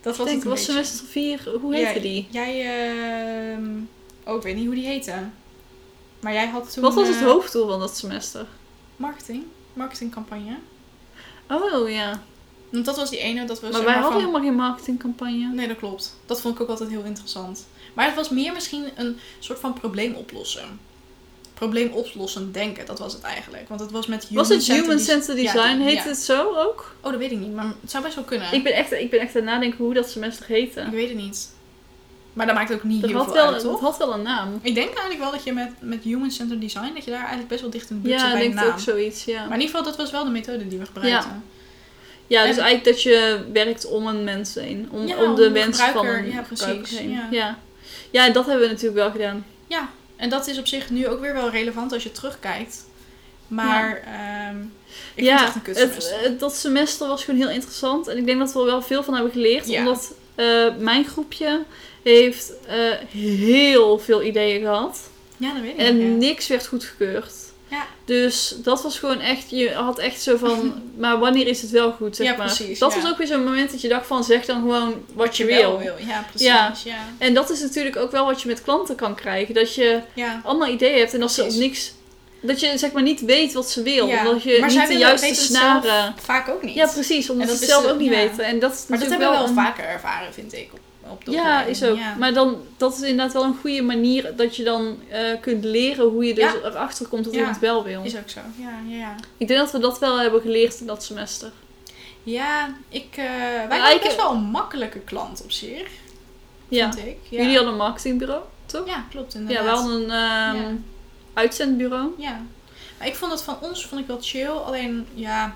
Speaker 2: Dat
Speaker 1: ik
Speaker 2: was
Speaker 1: denk
Speaker 2: het een
Speaker 1: was
Speaker 2: beetje.
Speaker 1: semester 4, hoe heette
Speaker 2: Ja,
Speaker 1: die?
Speaker 2: Jij, ehm oh, ik weet niet hoe die heette. Maar jij had toen...
Speaker 1: Wat was het
Speaker 2: eh,
Speaker 1: hoofddoel van dat semester?
Speaker 2: Marketing. Marketingcampagne.
Speaker 1: Oh ja,
Speaker 2: Want dat was die ene dat we... zeg
Speaker 1: maar wij hadden
Speaker 2: van-
Speaker 1: helemaal geen marketingcampagne.
Speaker 2: Nee, dat klopt. Dat vond ik ook altijd heel interessant. Maar het was meer misschien een soort van probleem oplossen. Probleem oplossen denken, dat was het eigenlijk. Want het was met
Speaker 1: was het
Speaker 2: human-centered
Speaker 1: Human
Speaker 2: des-
Speaker 1: Centered
Speaker 2: ja,
Speaker 1: Design?
Speaker 2: die-
Speaker 1: Heet
Speaker 2: ja.
Speaker 1: het zo ook?
Speaker 2: Oh, dat weet ik niet, maar het zou best wel kunnen.
Speaker 1: Ik, ben echt, ik ben echt aan het nadenken hoe dat semester
Speaker 2: Ik
Speaker 1: heette.
Speaker 2: weet het niet. Maar dat maakt ook niet
Speaker 1: Dat
Speaker 2: heel
Speaker 1: had,
Speaker 2: veel
Speaker 1: wel,
Speaker 2: uit,
Speaker 1: dat
Speaker 2: toch?
Speaker 1: had wel een naam.
Speaker 2: Ik denk eigenlijk wel dat je met, met human-centered design, dat je daar eigenlijk best wel dicht in de buurt
Speaker 1: Ja,
Speaker 2: zit
Speaker 1: ik
Speaker 2: bij de
Speaker 1: denk
Speaker 2: naam.
Speaker 1: ook zoiets, ja.
Speaker 2: Maar in ieder geval, dat was wel de methode die we gebruikten.
Speaker 1: Ja, dus
Speaker 2: En-
Speaker 1: eigenlijk dat je werkt om een mens heen. Om,
Speaker 2: Ja,
Speaker 1: om
Speaker 2: om
Speaker 1: de
Speaker 2: de
Speaker 1: wens van
Speaker 2: gebruiker,
Speaker 1: een
Speaker 2: ja,
Speaker 1: gebruiker
Speaker 2: precies,
Speaker 1: heen.
Speaker 2: ja.
Speaker 1: Ja. Ja. en dat hebben we natuurlijk wel gedaan.
Speaker 2: Ja, en dat is op zich nu ook weer wel relevant als je terugkijkt. Maar ehm, ik vind
Speaker 1: ja,
Speaker 2: het echt een kutsemester.
Speaker 1: het- het- dat semester was gewoon heel interessant. En ik denk dat we er wel veel van hebben geleerd.
Speaker 2: Ja.
Speaker 1: Omdat eh, mijn groepje heeft eh, heel veel ideeën gehad.
Speaker 2: Ja, dat weet ik
Speaker 1: En
Speaker 2: niet.
Speaker 1: niks werd goedgekeurd.
Speaker 2: Ja.
Speaker 1: Dus dat was gewoon echt, je had echt zo van, maar wanneer is het wel goed, zeg
Speaker 2: Ja,
Speaker 1: maar.
Speaker 2: precies,
Speaker 1: dat
Speaker 2: ja.
Speaker 1: was ook weer zo'n moment dat je dacht van, zeg dan gewoon wat je
Speaker 2: wel
Speaker 1: wil.
Speaker 2: Ja, precies. Ja.
Speaker 1: Ja.
Speaker 2: Ja.
Speaker 1: En dat is natuurlijk ook wel wat je met klanten kan krijgen. Dat je allemaal ideeën hebt en dat ze op
Speaker 2: Precies.
Speaker 1: niks... Dat je zeg maar niet weet wat ze wil.
Speaker 2: Ja,
Speaker 1: Dat je
Speaker 2: maar zij
Speaker 1: niet de
Speaker 2: willen-
Speaker 1: juiste
Speaker 2: weten het zelf
Speaker 1: snaren...
Speaker 2: Vaak ook niet.
Speaker 1: Ja, precies. Omdat
Speaker 2: En dat
Speaker 1: ze het
Speaker 2: is
Speaker 1: zelf
Speaker 2: de-
Speaker 1: ook niet
Speaker 2: ja.
Speaker 1: weten. En dat is
Speaker 2: maar dat
Speaker 1: natuurlijk
Speaker 2: hebben we wel
Speaker 1: een-
Speaker 2: vaker ervaren, vind ik. Op, op de
Speaker 1: Ja,
Speaker 2: opleiding.
Speaker 1: is ook.
Speaker 2: Ja.
Speaker 1: Maar dan, dat is inderdaad wel een goede manier dat je dan eh, kunt leren hoe je dus
Speaker 2: Ja.
Speaker 1: erachter komt dat
Speaker 2: Ja.
Speaker 1: iemand wel wil.
Speaker 2: Is ook zo. Ja, ja, ja.
Speaker 1: Ik denk dat we dat wel hebben geleerd in dat semester.
Speaker 2: Ja, ik, eh, wij
Speaker 1: Maar
Speaker 2: waren
Speaker 1: ik-
Speaker 2: best wel een makkelijke klant op zich,
Speaker 1: Ja.
Speaker 2: vind ik. Ja.
Speaker 1: Jullie hadden een marketingbureau, toch?
Speaker 2: Ja, klopt
Speaker 1: Ja,
Speaker 2: inderdaad.
Speaker 1: we hadden een ehm,
Speaker 2: Ja.
Speaker 1: uitzendbureau.
Speaker 2: Ja. Maar ik vond dat van ons vond ik wel chill. Alleen, ja...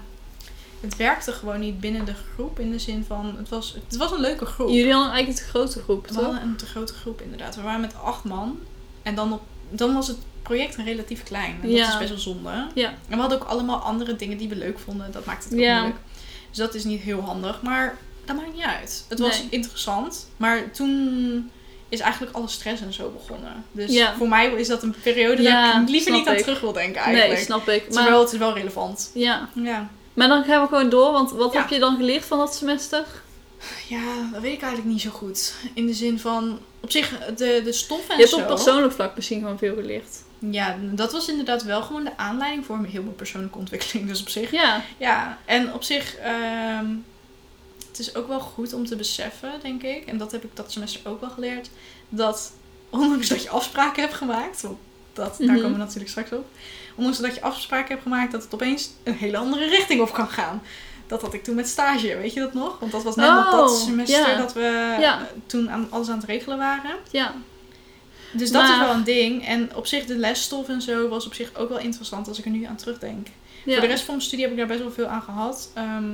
Speaker 2: het werkte gewoon niet binnen de groep. In de zin van, het was, het was een leuke groep.
Speaker 1: Jullie hadden eigenlijk een te grote groep,
Speaker 2: We
Speaker 1: toch?
Speaker 2: hadden een te grote groep inderdaad. We waren met acht man. En dan, op, dan was het project relatief klein. En dat
Speaker 1: Ja.
Speaker 2: is best wel zonde.
Speaker 1: Ja.
Speaker 2: En we hadden ook allemaal andere dingen die we leuk vonden. Dat maakt het ook
Speaker 1: Ja.
Speaker 2: moeilijk. Dus dat is niet heel handig. Maar dat maakt niet uit. Het was
Speaker 1: Nee.
Speaker 2: interessant. Maar toen is eigenlijk alle stress en zo begonnen. Dus
Speaker 1: Ja.
Speaker 2: voor mij is dat een periode
Speaker 1: Ja,
Speaker 2: waar ik liever
Speaker 1: snap
Speaker 2: niet aan
Speaker 1: ik.
Speaker 2: terug wil denken
Speaker 1: Nee,
Speaker 2: eigenlijk.
Speaker 1: snap ik. Maar,
Speaker 2: Terwijl het is wel relevant.
Speaker 1: ja.
Speaker 2: Ja.
Speaker 1: maar dan gaan we gewoon door, want wat
Speaker 2: Ja.
Speaker 1: heb je dan geleerd van dat semester?
Speaker 2: ja, dat weet ik eigenlijk niet zo goed. In de zin van, op zich, de, de stof en
Speaker 1: je hebt
Speaker 2: zo.
Speaker 1: op persoonlijk vlak misschien gewoon veel geleerd.
Speaker 2: Ja, dat was inderdaad wel gewoon de aanleiding voor mijn heel mijn persoonlijke ontwikkeling. Dus op zich.
Speaker 1: Ja,
Speaker 2: Ja, en op zich. ehm, het is ook wel goed om te beseffen, denk ik. En dat heb ik dat semester ook wel geleerd. Dat ondanks dat je afspraken hebt gemaakt. Want dat, daar
Speaker 1: Mhm.
Speaker 2: komen we natuurlijk straks op. Ondanks dat je afspraken hebt gemaakt, dat het opeens een hele andere richting op kan gaan. Dat had ik toen met stage, weet je dat nog? Want dat was net op dat
Speaker 1: Oh,
Speaker 2: semester
Speaker 1: ja.
Speaker 2: dat we
Speaker 1: Ja.
Speaker 2: eh, toen aan, alles aan het regelen waren.
Speaker 1: ja.
Speaker 2: Dus dat is
Speaker 1: Maar-
Speaker 2: wel een ding. En op zich, de lesstof en zo was op zich ook wel interessant als ik er nu aan terugdenk.
Speaker 1: ja.
Speaker 2: Voor de rest van mijn studie heb ik daar best wel veel aan gehad. Ehm,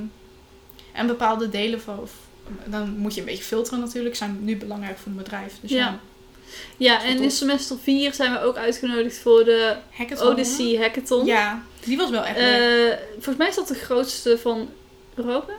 Speaker 2: en bepaalde delen van. of- dan moet je een beetje filteren natuurlijk. Zijn nu belangrijk voor een bedrijf. Dus ja.
Speaker 1: Ja. ja,
Speaker 2: wel
Speaker 1: en in
Speaker 2: tof.
Speaker 1: semester 4 zijn we ook uitgenodigd voor Oh, de
Speaker 2: Hackathon.
Speaker 1: Odyssey Hackathon.
Speaker 2: Ja, die was wel echt leuk.
Speaker 1: Eh, volgens mij is dat de grootste van Europa.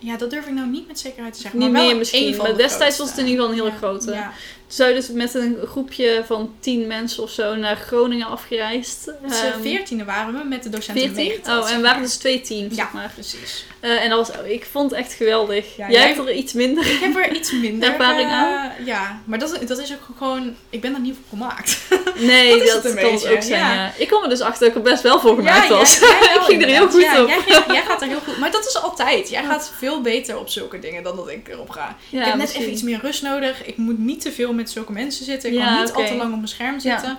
Speaker 2: Ja, dat durf ik nou niet met zekerheid te zeggen.
Speaker 1: niet
Speaker 2: maar wel
Speaker 1: meer misschien,
Speaker 2: één van
Speaker 1: maar
Speaker 2: de
Speaker 1: destijds was
Speaker 2: grootste.
Speaker 1: het in ieder geval een hele
Speaker 2: Ja,
Speaker 1: grote.
Speaker 2: Ja.
Speaker 1: Zou je dus met een groepje van 10 mensen of zo naar Groningen afgereisd?
Speaker 2: Met z'n
Speaker 1: Ehm,
Speaker 2: Dus, eh, veertiende waren we met de docenten
Speaker 1: 14?
Speaker 2: meegeteld,
Speaker 1: Oh,
Speaker 2: zeg
Speaker 1: en
Speaker 2: maar.
Speaker 1: waren dus twee teams,
Speaker 2: Ja,
Speaker 1: zeg maar.
Speaker 2: precies.
Speaker 1: Eh, en dat was, oh, ik vond het echt geweldig.
Speaker 2: Ja,
Speaker 1: jij
Speaker 2: jij-
Speaker 1: hebt er iets minder.
Speaker 2: Ik heb er iets minder
Speaker 1: Ervaring
Speaker 2: eh,
Speaker 1: aan?
Speaker 2: Ja, maar dat, dat is ook gewoon... Ik ben daar niet voor gemaakt.
Speaker 1: Nee,
Speaker 2: Dat is
Speaker 1: dat,
Speaker 2: het een
Speaker 1: kan
Speaker 2: beetje,
Speaker 1: het ook zijn.
Speaker 2: ja.
Speaker 1: ja. Ik kwam er dus achter dat ik er best wel voor gemaakt
Speaker 2: ja,
Speaker 1: was.
Speaker 2: jij- jij wel
Speaker 1: ik ging er heel
Speaker 2: inderdaad.
Speaker 1: goed
Speaker 2: Ja,
Speaker 1: op.
Speaker 2: Jij, ging- jij gaat er heel goed. Maar dat is altijd. Jij gaat veel beter op zulke dingen dan dat ik erop ga.
Speaker 1: Ja,
Speaker 2: ik heb net
Speaker 1: misschien.
Speaker 2: even iets meer rust nodig. Ik moet niet te veel met zulke mensen zitten. Ik
Speaker 1: Ja,
Speaker 2: kan niet al
Speaker 1: oké.
Speaker 2: te lang op mijn scherm
Speaker 1: Ja.
Speaker 2: zitten.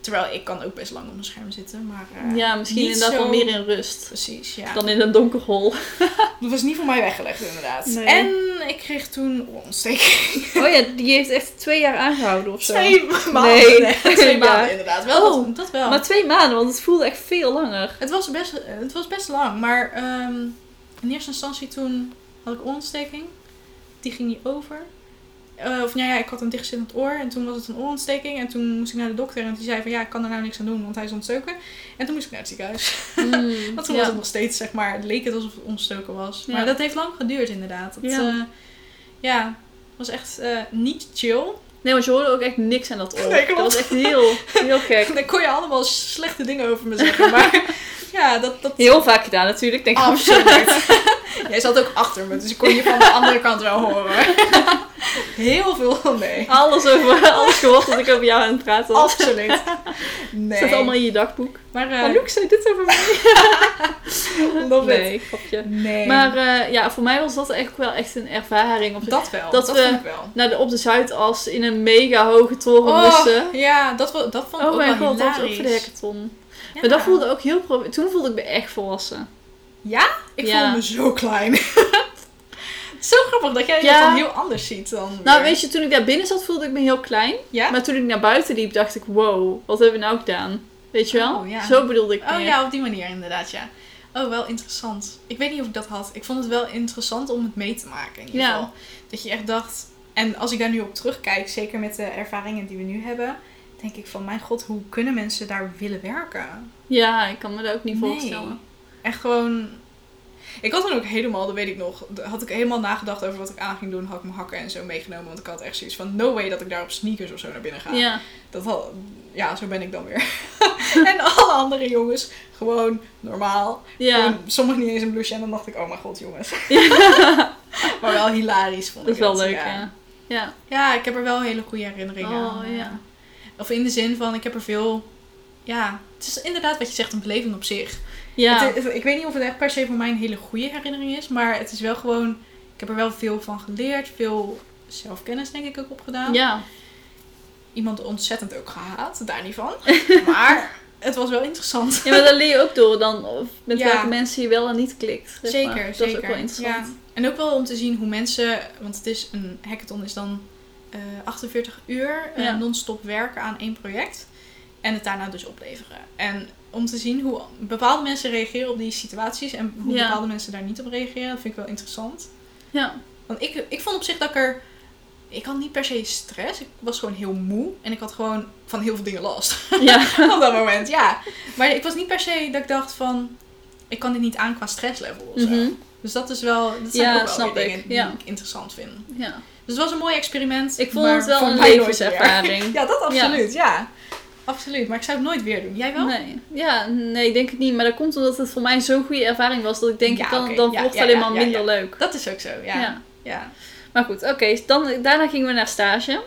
Speaker 2: Terwijl ik kan ook best lang op mijn scherm zitten. Maar eh,
Speaker 1: Ja, misschien
Speaker 2: niet
Speaker 1: inderdaad
Speaker 2: zo-
Speaker 1: wel meer in rust.
Speaker 2: Precies, ja.
Speaker 1: Dan in een donker hol.
Speaker 2: Dat was niet voor mij weggelegd, inderdaad.
Speaker 1: Nee.
Speaker 2: En ik kreeg toen ontsteking.
Speaker 1: Oh ja, die heeft echt twee jaar aangehouden of zo.
Speaker 2: Twee maanden.
Speaker 1: Nee.
Speaker 2: Nee, twee
Speaker 1: Ja.
Speaker 2: maanden, inderdaad. Wel,
Speaker 1: Oh,
Speaker 2: dat, dat wel.
Speaker 1: Maar twee maanden, want het voelde echt veel langer.
Speaker 2: Het was best, het was best lang, maar ehm, in eerste instantie toen had ik oorontsteking. Die ging niet over. Eh, of nou ja, ik had een dichtzittend oor en toen was het een oorontsteking. En toen moest ik naar de dokter en die zei van ja, ik kan er nou niks aan doen, want hij is ontstoken. En toen moest ik naar het ziekenhuis.
Speaker 1: Hmm.
Speaker 2: Want toen was het nog steeds, zeg maar, het leek het alsof het ontstoken was.
Speaker 1: Ja.
Speaker 2: Maar dat heeft lang geduurd inderdaad. Dat,
Speaker 1: Ja.
Speaker 2: ja. ja, was echt eh, niet chill.
Speaker 1: Nee, want je hoorde ook echt niks aan dat oor.
Speaker 2: Nee,
Speaker 1: dat
Speaker 2: klopt.
Speaker 1: was echt heel, heel gek.
Speaker 2: Daar kon je allemaal slechte dingen over me zeggen, maar ja, dat... dat
Speaker 1: Heel vaak gedaan natuurlijk. Denk ik.
Speaker 2: Absoluut. Jij zat ook achter me, dus ik kon je van de andere kant wel horen. Heel veel van nee.
Speaker 1: Alles over alles gehoord dat ik over jou aan het praten was.
Speaker 2: Absoluut.
Speaker 1: Het
Speaker 2: Nee.
Speaker 1: Staat allemaal in je dagboek.
Speaker 2: maar,
Speaker 1: Maar
Speaker 2: eh
Speaker 1: Luc zei dit over mij.
Speaker 2: love it.
Speaker 1: nee, grapje.
Speaker 2: Nee.
Speaker 1: Maar eh, ja, voor mij was dat echt wel echt een ervaring. Of
Speaker 2: dat wel.
Speaker 1: dat
Speaker 2: Dat,
Speaker 1: we-
Speaker 2: vond ik wel.
Speaker 1: naar de, op de Zuidas in een mega hoge toren
Speaker 2: Oh,
Speaker 1: moesten.
Speaker 2: ja, dat, wa- dat vond ik
Speaker 1: Oh
Speaker 2: ook
Speaker 1: mijn
Speaker 2: wel
Speaker 1: god, dat was ook
Speaker 2: hilarisch.
Speaker 1: voor de hackathon.
Speaker 2: Ja.
Speaker 1: Maar dat voelde ook heel... pro- Toen voelde ik me echt volwassen.
Speaker 2: Ik
Speaker 1: Ja.
Speaker 2: voelde me zo klein. zo grappig dat jij
Speaker 1: Ja.
Speaker 2: dat dan heel anders ziet dan...
Speaker 1: Nou, weet je, toen ik daar binnen zat voelde ik me heel klein.
Speaker 2: Ja?
Speaker 1: Maar toen ik naar buiten liep dacht ik, wow, wat hebben we nou gedaan? Weet je wel?
Speaker 2: Oh, ja.
Speaker 1: Zo bedoelde ik
Speaker 2: Oh
Speaker 1: meer.
Speaker 2: ja, op die manier inderdaad, ja. Oh, wel interessant. Ik weet niet of ik dat had. Ik vond het wel interessant om het mee te maken in ieder
Speaker 1: Ja.
Speaker 2: geval. Dat je echt dacht... En als ik daar nu op terugkijk, zeker met de ervaringen die we nu hebben... denk ik van, mijn god, hoe kunnen mensen daar willen werken?
Speaker 1: Ja, ik kan me dat ook niet
Speaker 2: Nee.
Speaker 1: voorstellen.
Speaker 2: Echt gewoon... Ik had dan ook helemaal, dat weet ik nog... had ik helemaal nagedacht over wat ik aan ging doen. Had ik mijn hakken en zo meegenomen. Want ik had echt zoiets van, no way dat ik daar op sneakers of zo naar binnen ga.
Speaker 1: Ja.
Speaker 2: Dat had- ja, zo ben ik dan weer. en alle andere jongens, gewoon normaal.
Speaker 1: Ja,
Speaker 2: Gewoon Sommigen niet eens een blusje. En dan dacht ik, oh mijn god, jongens. maar wel hilarisch vond
Speaker 1: dat
Speaker 2: ik
Speaker 1: is
Speaker 2: het,
Speaker 1: wel leuk,
Speaker 2: ja.
Speaker 1: ja. Ja,
Speaker 2: Ja, ik heb er wel hele goede herinneringen aan. eh.
Speaker 1: Oh, ja.
Speaker 2: Of in de zin van, ik heb er veel... Ja, het is inderdaad wat je zegt, een beleving op zich.
Speaker 1: ja.
Speaker 2: Het- het- ik weet niet of het echt per se voor mij een hele goede herinnering is. Maar het is wel gewoon... Ik heb er wel veel van geleerd. Veel zelfkennis denk ik ook opgedaan.
Speaker 1: ja.
Speaker 2: Iemand ontzettend ook gehaat, daar niet van. maar het was wel interessant.
Speaker 1: Ja, maar dat leer je ook door dan of met
Speaker 2: Ja.
Speaker 1: welke mensen je wel en niet klikt. zeg maar.
Speaker 2: Zeker,
Speaker 1: Dat
Speaker 2: zeker.
Speaker 1: is ook wel interessant.
Speaker 2: Ja. En ook wel om te zien hoe mensen, want het is een hackathon is dan eh, 48 uur eh,
Speaker 1: Ja.
Speaker 2: non-stop werken aan één project en het daarna dus opleveren. En om te zien hoe bepaalde mensen reageren op die situaties en hoe
Speaker 1: Ja.
Speaker 2: bepaalde mensen daar niet op reageren. Dat vind ik wel interessant.
Speaker 1: Ja.
Speaker 2: Want ik, ik vond op zich dat ik er. Ik had niet per se stress. Ik was gewoon heel moe. En ik had gewoon van heel veel dingen last.
Speaker 1: Ja.
Speaker 2: op dat moment, ja. Maar ik was niet per se dat ik dacht van. Ik kan dit niet aan qua stresslevel of zo.
Speaker 1: Mhm.
Speaker 2: Dus dat is wel. Dat zijn
Speaker 1: Ja,
Speaker 2: ook wel
Speaker 1: snap
Speaker 2: weer
Speaker 1: ik.
Speaker 2: dingen die
Speaker 1: Ja.
Speaker 2: ik interessant vind.
Speaker 1: ja.
Speaker 2: Dus het was een mooi experiment.
Speaker 1: Ik vond
Speaker 2: maar
Speaker 1: het wel
Speaker 2: voor
Speaker 1: een
Speaker 2: mij nooit meer.
Speaker 1: levenservaring.
Speaker 2: Ja, dat absoluut, ja. Absoluut, maar ik zou het nooit weer doen. Jij wel?
Speaker 1: Nee. Ja, nee, ik denk het niet. Maar dat komt omdat het voor mij zo'n goede ervaring was. Dat ik denk,
Speaker 2: Ja,
Speaker 1: dan,
Speaker 2: oké.
Speaker 1: dan
Speaker 2: Ja,
Speaker 1: wordt
Speaker 2: ja,
Speaker 1: het alleen
Speaker 2: ja,
Speaker 1: maar
Speaker 2: ja,
Speaker 1: minder leuk.
Speaker 2: Dat is ook zo, ja. Ja,
Speaker 1: Ja. Maar goed, oké. Dus dan, daarna gingen we naar stage.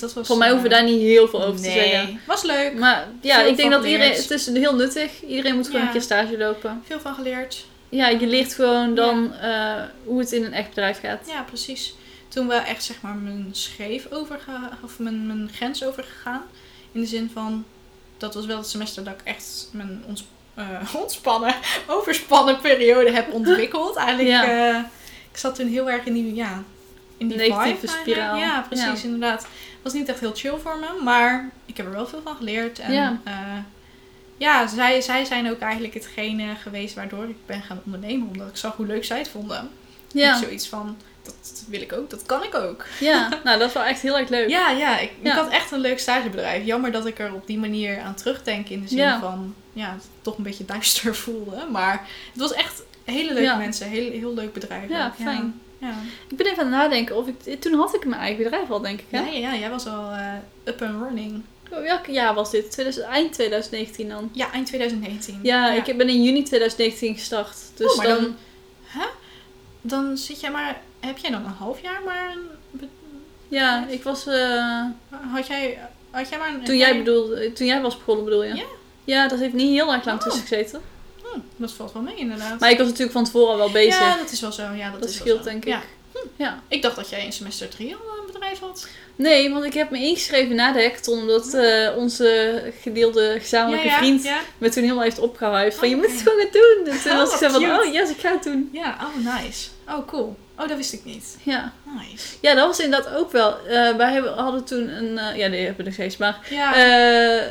Speaker 2: dat was...
Speaker 1: Voor mij hoeven we
Speaker 2: eh,
Speaker 1: daar niet heel veel over te
Speaker 2: nee.
Speaker 1: zeggen.
Speaker 2: was leuk.
Speaker 1: Maar ja,
Speaker 2: Veel
Speaker 1: ik denk
Speaker 2: van
Speaker 1: dat iedereen...
Speaker 2: geleerd.
Speaker 1: Het is heel nuttig. Iedereen moet gewoon
Speaker 2: Ja.
Speaker 1: een keer stage lopen.
Speaker 2: Veel van geleerd.
Speaker 1: Ja, je leert gewoon dan eh, hoe het in een echt bedrijf gaat.
Speaker 2: Ja, precies. Toen wel echt, zeg maar, mijn scheef overgegaan... Of mijn, mijn grens overgegaan. In de zin van... Dat was wel het semester dat ik echt mijn ons, eh, ontspannen, overspannen periode heb ontwikkeld. Eigenlijk,
Speaker 1: Ja.
Speaker 2: eh, ik zat toen heel erg in die, ja, in die
Speaker 1: Negatieve
Speaker 2: vibe eigenlijk.
Speaker 1: spiraal.
Speaker 2: Ja, precies,
Speaker 1: Ja.
Speaker 2: inderdaad. was niet echt heel chill voor me, maar ik heb er wel veel van geleerd. En
Speaker 1: Ja.
Speaker 2: eh, ja, zij, zij zijn ook eigenlijk hetgene geweest waardoor ik ben gaan ondernemen. Omdat ik zag hoe leuk zij het vonden.
Speaker 1: Ja,
Speaker 2: Ik zoiets van, dat wil ik ook, dat kan ik ook.
Speaker 1: ja. nou dat is wel echt heel erg leuk.
Speaker 2: Ja, ja, ik,
Speaker 1: Ja.
Speaker 2: ik had echt een leuk stagebedrijf. Jammer dat ik er op die manier aan terugdenk in de zin
Speaker 1: Ja.
Speaker 2: van, ja, dat het toch een beetje duister voelde. Maar het was echt hele leuke
Speaker 1: Ja.
Speaker 2: mensen, heel, heel leuk bedrijf.
Speaker 1: Ja,
Speaker 2: ook.
Speaker 1: fijn.
Speaker 2: Ja.
Speaker 1: Ik ben even aan het nadenken of ik... Toen had ik mijn eigen bedrijf al, denk ik. Hè?
Speaker 2: Ja. Ja, ja, jij was al eh, up and running.
Speaker 1: Welk jaar was dit? 2000, eind 2019 dan?
Speaker 2: Ja, eind 2019.
Speaker 1: Ja, ik ben in juni 2019 gestart. Dus
Speaker 2: Oh, maar
Speaker 1: dan,
Speaker 2: dan- Dan zit jij maar, heb jij dan een half jaar maar een, be-
Speaker 1: Ja, ik was... eh,
Speaker 2: had jij, had jij maar een...
Speaker 1: toen, jij bedoelde, toen jij was begonnen bedoel je?
Speaker 2: Ja.
Speaker 1: Ja, dat heeft niet heel erg lang
Speaker 2: Oh.
Speaker 1: tussen gezeten.
Speaker 2: Hm, dat valt wel mee inderdaad.
Speaker 1: Maar ik was natuurlijk van tevoren al wel bezig.
Speaker 2: ja, dat is wel zo. Ja, dat,
Speaker 1: dat
Speaker 2: is wel
Speaker 1: scheelt
Speaker 2: zo.
Speaker 1: denk ik.
Speaker 2: Ja.
Speaker 1: Ja. ja.
Speaker 2: Ik dacht dat jij in semester 3 al een bedrijf had.
Speaker 1: Nee, want ik heb me ingeschreven na de hackathon. Omdat eh, onze gedeelde gezamenlijke
Speaker 2: Oh. ja, ja,
Speaker 1: vriend
Speaker 2: Ja,
Speaker 1: me toen heel heeft opgehuift. Van,
Speaker 2: Oh,
Speaker 1: je moet
Speaker 2: oké.
Speaker 1: het gewoon gaan doen. En toen
Speaker 2: Oh,
Speaker 1: was ik
Speaker 2: wat
Speaker 1: zo van,
Speaker 2: cute.
Speaker 1: oh yes, ik ga het doen.
Speaker 2: Ja, oh nice. Oh cool. Oh, dat wist ik niet.
Speaker 1: Ja.
Speaker 2: Nice.
Speaker 1: ja, dat was inderdaad ook wel. Eh, wij hebben- hadden toen een... eh, ja, die hebben we nog steeds, maar...
Speaker 2: Ja,
Speaker 1: Eh,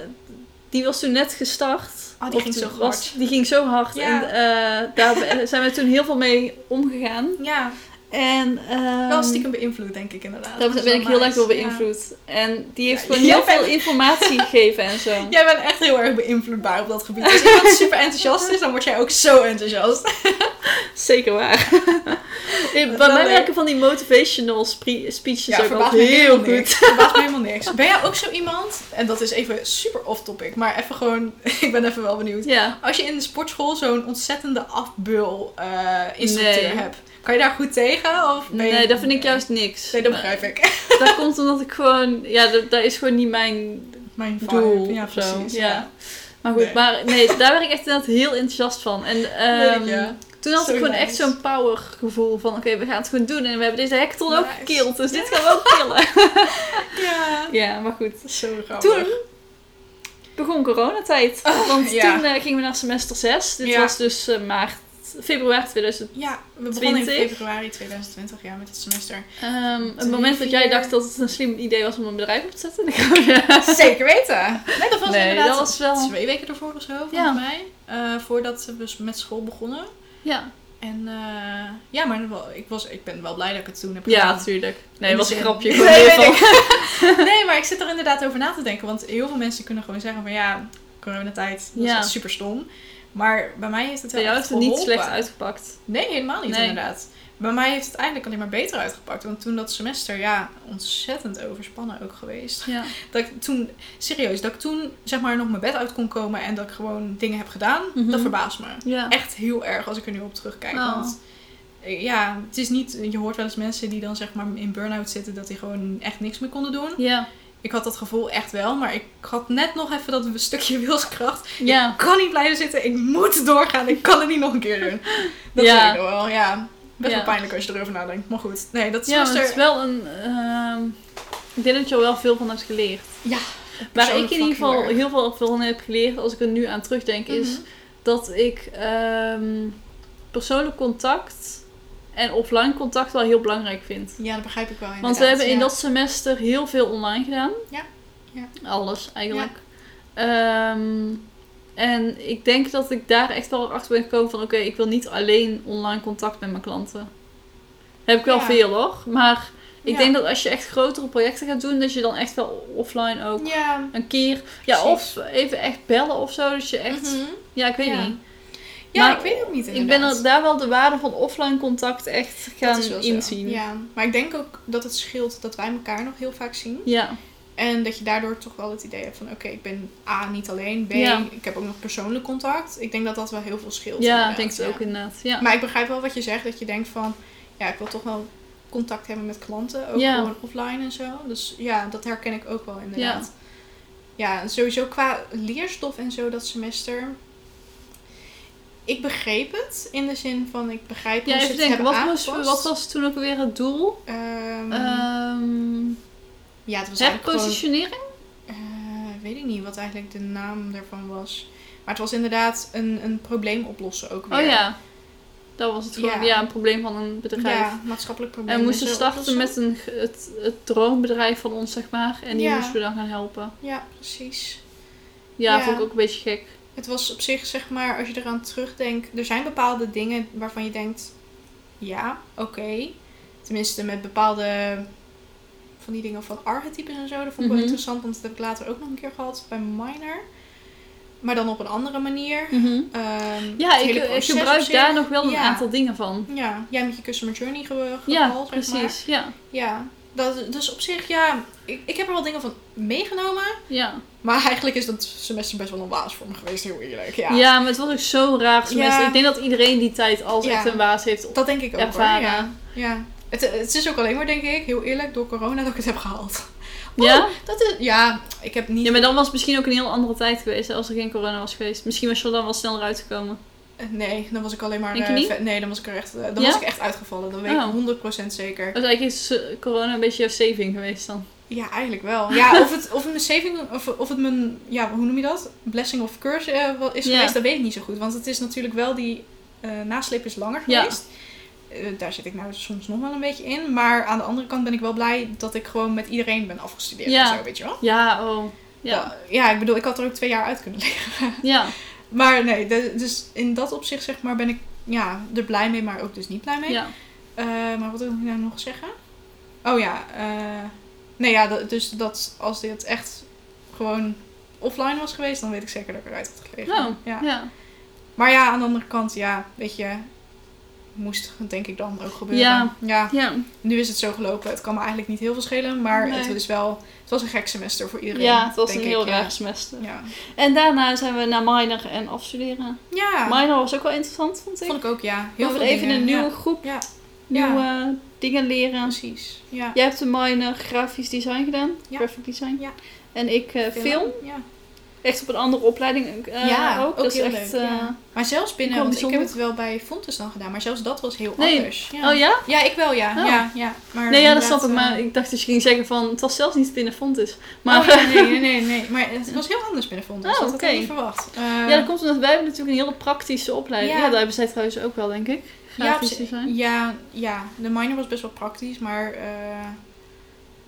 Speaker 1: die was toen net gestart.
Speaker 2: Ah, die
Speaker 1: Of
Speaker 2: ging
Speaker 1: toen
Speaker 2: zo
Speaker 1: was-
Speaker 2: hard.
Speaker 1: die ging zo hard.
Speaker 2: Ja.
Speaker 1: En eh, daar be- zijn we toen heel veel mee omgegaan.
Speaker 2: ja.
Speaker 1: En ehm,
Speaker 2: wel stiekem beïnvloed denk ik inderdaad.
Speaker 1: daar
Speaker 2: Dat is
Speaker 1: ben ik
Speaker 2: wel
Speaker 1: heel erg
Speaker 2: nice.
Speaker 1: door beïnvloed. En die heeft
Speaker 2: Ja,
Speaker 1: gewoon
Speaker 2: jij
Speaker 1: heel veel
Speaker 2: bent-
Speaker 1: informatie gegeven en zo.
Speaker 2: Ja. Jij bent echt heel erg beïnvloedbaar op dat gebied. Dus Als iemand super enthousiast is, dan word jij ook zo enthousiast.
Speaker 1: Zeker waar. Eh, Bij
Speaker 2: Wel
Speaker 1: mij
Speaker 2: leuk.
Speaker 1: werken van die motivational spre- speeches ook
Speaker 2: verbaast
Speaker 1: altijd
Speaker 2: me
Speaker 1: heel
Speaker 2: helemaal
Speaker 1: goed.
Speaker 2: niks. Verbaast me helemaal niks. Ben jij ook zo iemand? En dat is even super off-topic, maar even gewoon... Ik ben even wel benieuwd.
Speaker 1: Ja.
Speaker 2: Als je in de sportschool zo'n ontzettende afbeul eh, instructeur
Speaker 1: Nee.
Speaker 2: hebt, kan je daar goed tegen? Of ben je-
Speaker 1: Nee, dat vind ik juist niks.
Speaker 2: Nee, dat begrijp ik.
Speaker 1: Maar Dat komt omdat ik gewoon... Ja, dat, dat is gewoon niet mijn
Speaker 2: Mijn vibe.
Speaker 1: doel.
Speaker 2: ja,
Speaker 1: of zo.
Speaker 2: precies.
Speaker 1: Ja. Maar goed,
Speaker 2: Nee.
Speaker 1: maar nee, daar ben ik echt inderdaad heel enthousiast van. En ehm,
Speaker 2: Weet ik, ja.
Speaker 1: toen had
Speaker 2: Zo
Speaker 1: ik gewoon
Speaker 2: nice.
Speaker 1: echt zo'n power gevoel van oké, we gaan het gewoon doen. En we hebben deze hackathon ook
Speaker 2: Nice.
Speaker 1: gekild, dus dit gaan we ook killen.
Speaker 2: Ja.
Speaker 1: ja, maar goed.
Speaker 2: Zo grappig.
Speaker 1: Toen begon coronatijd. want
Speaker 2: Ah, ja.
Speaker 1: toen eh, gingen we naar semester 6. Dit
Speaker 2: Ja.
Speaker 1: was dus eh, maart, februari 2000.
Speaker 2: Ja, we begonnen
Speaker 1: 20?
Speaker 2: in februari 2020 ja, met het semester.
Speaker 1: Ehm het
Speaker 2: Drie,
Speaker 1: moment dat jij
Speaker 2: vier.
Speaker 1: dacht dat het een slim idee was om een bedrijf op te zetten. Ik gewoon, ja.
Speaker 2: Zeker weten! Nee, dat was
Speaker 1: Nee,
Speaker 2: inderdaad
Speaker 1: dat was wel-
Speaker 2: twee weken ervoor of zo, volgens
Speaker 1: Ja.
Speaker 2: mij. Eh, voordat we met school begonnen.
Speaker 1: ja.
Speaker 2: En eh, ja, maar wel- ik, was, ik ben wel blij dat ik het toen heb
Speaker 1: ja,
Speaker 2: gedaan.
Speaker 1: tuurlijk.
Speaker 2: In
Speaker 1: Nee, het was
Speaker 2: de
Speaker 1: een
Speaker 2: zin-
Speaker 1: grapje.
Speaker 2: Nee,
Speaker 1: Gewoon heel
Speaker 2: weet
Speaker 1: van-
Speaker 2: ik. nee, maar ik zit er inderdaad over na te denken. Want heel veel mensen kunnen gewoon zeggen van ja, coronatijd, dat
Speaker 1: Ja.
Speaker 2: is echt super stom. Maar bij mij heeft het
Speaker 1: Bij
Speaker 2: wel
Speaker 1: jou
Speaker 2: echt
Speaker 1: heeft het niet
Speaker 2: geholpen.
Speaker 1: slecht uitgepakt.
Speaker 2: Nee, helemaal niet
Speaker 1: Nee.
Speaker 2: inderdaad. Bij mij heeft het eigenlijk alleen maar beter uitgepakt. Want toen dat semester, ja, ontzettend overspannen ook geweest.
Speaker 1: Ja.
Speaker 2: Dat ik toen, serieus, dat ik toen zeg maar nog mijn bed uit kon komen en dat ik gewoon dingen heb gedaan,
Speaker 1: Mhm.
Speaker 2: dat verbaast me.
Speaker 1: ja.
Speaker 2: Echt heel erg als ik er nu op terugkijk.
Speaker 1: Oh.
Speaker 2: Want eh, ja, het is niet, je hoort wel eens mensen die dan zeg maar in burn-out zitten dat die gewoon echt niks meer konden doen.
Speaker 1: Ja.
Speaker 2: Ik had dat gevoel echt wel, maar ik had net nog even dat stukje wilskracht.
Speaker 1: Ja.
Speaker 2: Ik kan niet blijven zitten, ik moet doorgaan, ik kan het niet nog een keer doen. Dat
Speaker 1: Ja.
Speaker 2: weet ik nog wel, ja. Best
Speaker 1: Ja.
Speaker 2: wel pijnlijk als je erover nadenkt, maar goed. Nee, dat is
Speaker 1: Ja, maar
Speaker 2: semester...
Speaker 1: het is wel een. ehm, ik denk dat je er wel veel van hebt geleerd.
Speaker 2: Ja,
Speaker 1: Waar
Speaker 2: persoonlijk
Speaker 1: ik in ieder
Speaker 2: fucking
Speaker 1: geval
Speaker 2: erg.
Speaker 1: heel veel van heb geleerd, als ik er nu aan terugdenk, is
Speaker 2: Mhm.
Speaker 1: dat ik ehm, persoonlijk contact en offline contact wel heel belangrijk vind.
Speaker 2: Mhm. Ja, dat begrijp ik wel
Speaker 1: Want we
Speaker 2: inderdaad,
Speaker 1: hebben in
Speaker 2: ja.
Speaker 1: dat semester heel veel online gedaan.
Speaker 2: Ja, ja.
Speaker 1: Alles eigenlijk. Ehm, En ik denk dat ik daar echt wel achter ben gekomen van oké, ik wil niet alleen online contact met mijn klanten. Heb ik wel
Speaker 2: Ja.
Speaker 1: veel hoor. Maar ik
Speaker 2: Ja.
Speaker 1: denk dat als je echt grotere projecten gaat doen, dat je dan echt wel offline ook
Speaker 2: Ja.
Speaker 1: een keer. Ja,
Speaker 2: Precies.
Speaker 1: of even echt bellen of zo. Dat je echt.
Speaker 2: Mhm.
Speaker 1: Ja, ik weet
Speaker 2: Ja,
Speaker 1: niet.
Speaker 2: Ja,
Speaker 1: Maar
Speaker 2: ik weet het ook niet
Speaker 1: Ik ben
Speaker 2: inderdaad.
Speaker 1: er daar wel de waarde van offline contact echt
Speaker 2: Dat
Speaker 1: gaan
Speaker 2: is wel zo.
Speaker 1: inzien. Ja.
Speaker 2: Ja, maar ik denk ook dat het scheelt dat wij elkaar nog heel vaak zien. En dat je daardoor toch wel het idee hebt van... Oké, ik ben A, niet alleen. B,
Speaker 1: Ja.
Speaker 2: ik heb ook nog persoonlijk contact. Ik denk dat dat wel heel veel scheelt.
Speaker 1: Ja, ik
Speaker 2: inderdaad,
Speaker 1: denk het ook inderdaad. Ja.
Speaker 2: Maar ik begrijp wel wat je zegt. Dat je denkt van... Ja, ik wil toch wel contact hebben met klanten. Ook
Speaker 1: Ja.
Speaker 2: gewoon offline en zo. Dus ja, dat herken ik ook wel inderdaad. Ja, en sowieso qua leerstof en zo dat semester... Ik begreep het. In de zin van... Ik begrijp
Speaker 1: ja,
Speaker 2: hoe ze
Speaker 1: even
Speaker 2: dus het
Speaker 1: denken,
Speaker 2: hebben
Speaker 1: wat, moest-
Speaker 2: aangepast.
Speaker 1: wat was toen ook weer het doel?
Speaker 2: Ehm,
Speaker 1: Ehm
Speaker 2: ja, het was eigenlijk gewoon...
Speaker 1: herpositionering?
Speaker 2: eh, weet ik niet wat eigenlijk de naam daarvan was. Maar het was inderdaad een, een probleem oplossen ook weer.
Speaker 1: Oh ja, dat was het gewoon.
Speaker 2: Ja.
Speaker 1: Ja, een probleem van een bedrijf.
Speaker 2: Ja, maatschappelijk probleem.
Speaker 1: En we moesten
Speaker 2: zo
Speaker 1: starten
Speaker 2: oplossen.
Speaker 1: met een, g- het, het droombedrijf van ons, zeg maar. En die
Speaker 2: Ja.
Speaker 1: moesten we dan gaan helpen.
Speaker 2: Ja, precies.
Speaker 1: Ja,
Speaker 2: Ja.
Speaker 1: vond ik ook een beetje gek.
Speaker 2: Het was op zich, zeg maar, als je eraan terugdenkt... Er zijn bepaalde dingen waarvan je denkt... Ja, oké. Tenminste, met bepaalde... Van die dingen van archetypes en zo. Dat vond ik wel
Speaker 1: Mhm.
Speaker 2: interessant. Want dat heb ik later ook nog een keer gehad bij Minor. Maar dan op een andere manier. Ehm,
Speaker 1: Ja,
Speaker 2: het
Speaker 1: ik, eh,
Speaker 2: hele
Speaker 1: ik
Speaker 2: proces op
Speaker 1: gebruik
Speaker 2: zich.
Speaker 1: daar nog wel een
Speaker 2: Ja.
Speaker 1: aantal dingen van.
Speaker 2: Ja, jij met je customer journey ge
Speaker 1: Ja,
Speaker 2: gehaald, zeg maar.
Speaker 1: precies. Ja.
Speaker 2: Ja, dat, dus op zich, ja, ik, ik heb er wel dingen van meegenomen.
Speaker 1: Ja.
Speaker 2: Maar eigenlijk is dat semester best wel een waas voor me geweest, heel eerlijk. Ja,
Speaker 1: Ja. maar het was ook zo raar. semester.
Speaker 2: Ja.
Speaker 1: Ik denk dat iedereen die tijd als
Speaker 2: Ja.
Speaker 1: echt een waas heeft
Speaker 2: dat denk ik ook
Speaker 1: ervaren.
Speaker 2: hoor. Ja, ja. Het, het is ook alleen maar, denk ik, heel eerlijk, door corona dat ik het heb gehaald.
Speaker 1: Ja?
Speaker 2: Dat is, ja, ik heb niet...
Speaker 1: Ja, maar dan was het misschien ook een heel andere tijd geweest hè, als er geen corona was geweest. Misschien was je dan wel sneller uitgekomen.
Speaker 2: Nee, dan was ik alleen maar...
Speaker 1: Denk je
Speaker 2: eh,
Speaker 1: niet?
Speaker 2: ve- nee, dan was ik er echt, eh, dan
Speaker 1: Ja?
Speaker 2: was ik echt uitgevallen. Dat weet
Speaker 1: Oh.
Speaker 2: ik 100% zeker.
Speaker 1: Dus eigenlijk is eh, corona een beetje jouw saving geweest dan.
Speaker 2: Ja, eigenlijk wel. Ja, of het, of het mijn saving, of, of het mijn, ja, hoe noem je dat? Blessing of curse eh, wel is
Speaker 1: Ja.
Speaker 2: geweest, dat weet ik niet zo goed. Want het is natuurlijk wel die eh nasleep is langer
Speaker 1: Ja.
Speaker 2: geweest. Eh, daar zit ik nou soms nog wel een beetje in. Maar aan de andere kant ben ik wel blij dat ik gewoon met iedereen ben afgestudeerd.
Speaker 1: Ja.
Speaker 2: En zo, weet je wel?
Speaker 1: Ja, oh. Ja.
Speaker 2: Eh, ja, ik bedoel, ik had er ook twee jaar uit kunnen liggen.
Speaker 1: Ja.
Speaker 2: Maar nee, de- dus in dat opzicht zeg maar ben ik ja, er blij mee, maar ook dus niet blij mee.
Speaker 1: Ja.
Speaker 2: Eh, maar wat wil ik nou nog zeggen? Oh ja, eh, nee ja, dat- dus dat als dit echt gewoon offline was geweest, dan weet ik zeker dat ik eruit had gelegen.
Speaker 1: Nou,
Speaker 2: Ja.
Speaker 1: ja.
Speaker 2: Maar ja, aan de andere kant, ja, weet je, moest denk ik dan ook gebeuren.
Speaker 1: Ja. Ja.
Speaker 2: nu is het zo gelopen. Het kan me eigenlijk niet heel veel schelen, maar
Speaker 1: Nee.
Speaker 2: het is wel, het was een gek semester voor iedereen.
Speaker 1: Ja, het was een
Speaker 2: denk
Speaker 1: heel
Speaker 2: ik,
Speaker 1: raar semester.
Speaker 2: Ja,
Speaker 1: En daarna zijn we naar minor en afstuderen.
Speaker 2: ja.
Speaker 1: Minor was ook wel interessant, vond ik.
Speaker 2: vond ik ook, ja.
Speaker 1: Heel
Speaker 2: veel
Speaker 1: even
Speaker 2: dingen,
Speaker 1: een
Speaker 2: ja.
Speaker 1: nieuwe groep,
Speaker 2: Ja. Ja.
Speaker 1: nieuwe dingen leren.
Speaker 2: Precies, ja.
Speaker 1: Jij hebt een minor grafisch design gedaan,
Speaker 2: Ja.
Speaker 1: graphic design.
Speaker 2: Ja.
Speaker 1: En ik eh, film,
Speaker 2: Ja.
Speaker 1: echt op een andere opleiding eh,
Speaker 2: Ja, ook
Speaker 1: Dat is
Speaker 2: heel
Speaker 1: echt,
Speaker 2: leuk,
Speaker 1: eh,
Speaker 2: ja. Maar zelfs binnen,
Speaker 1: Wel
Speaker 2: want ik heb
Speaker 1: bijzonder.
Speaker 2: het wel bij Fontes dan gedaan, maar zelfs dat was heel
Speaker 1: Nee.
Speaker 2: anders.
Speaker 1: Oh ja?
Speaker 2: Ja, ik wel, ja.
Speaker 1: Oh.
Speaker 2: ja, ja. Maar
Speaker 1: Nee, ja, dat
Speaker 2: inderdaad,
Speaker 1: snap ik.
Speaker 2: eh,
Speaker 1: Maar ik dacht dat je ging zeggen van, het was zelfs niet binnen Fontes. Maar
Speaker 2: oh, ja, nee, nee, nee, nee. Maar het was heel anders binnen Fontes.
Speaker 1: Oh,
Speaker 2: dat had
Speaker 1: oké.
Speaker 2: ik niet verwacht. Eh,
Speaker 1: ja, dat komt omdat wij hebben natuurlijk een hele praktische opleiding.
Speaker 2: Ja.
Speaker 1: Ja, daar hebben zij trouwens ook wel, denk ik.
Speaker 2: ja, op
Speaker 1: Grafisch
Speaker 2: zich-
Speaker 1: design.
Speaker 2: ja, ja, de minor was best wel praktisch, maar eh,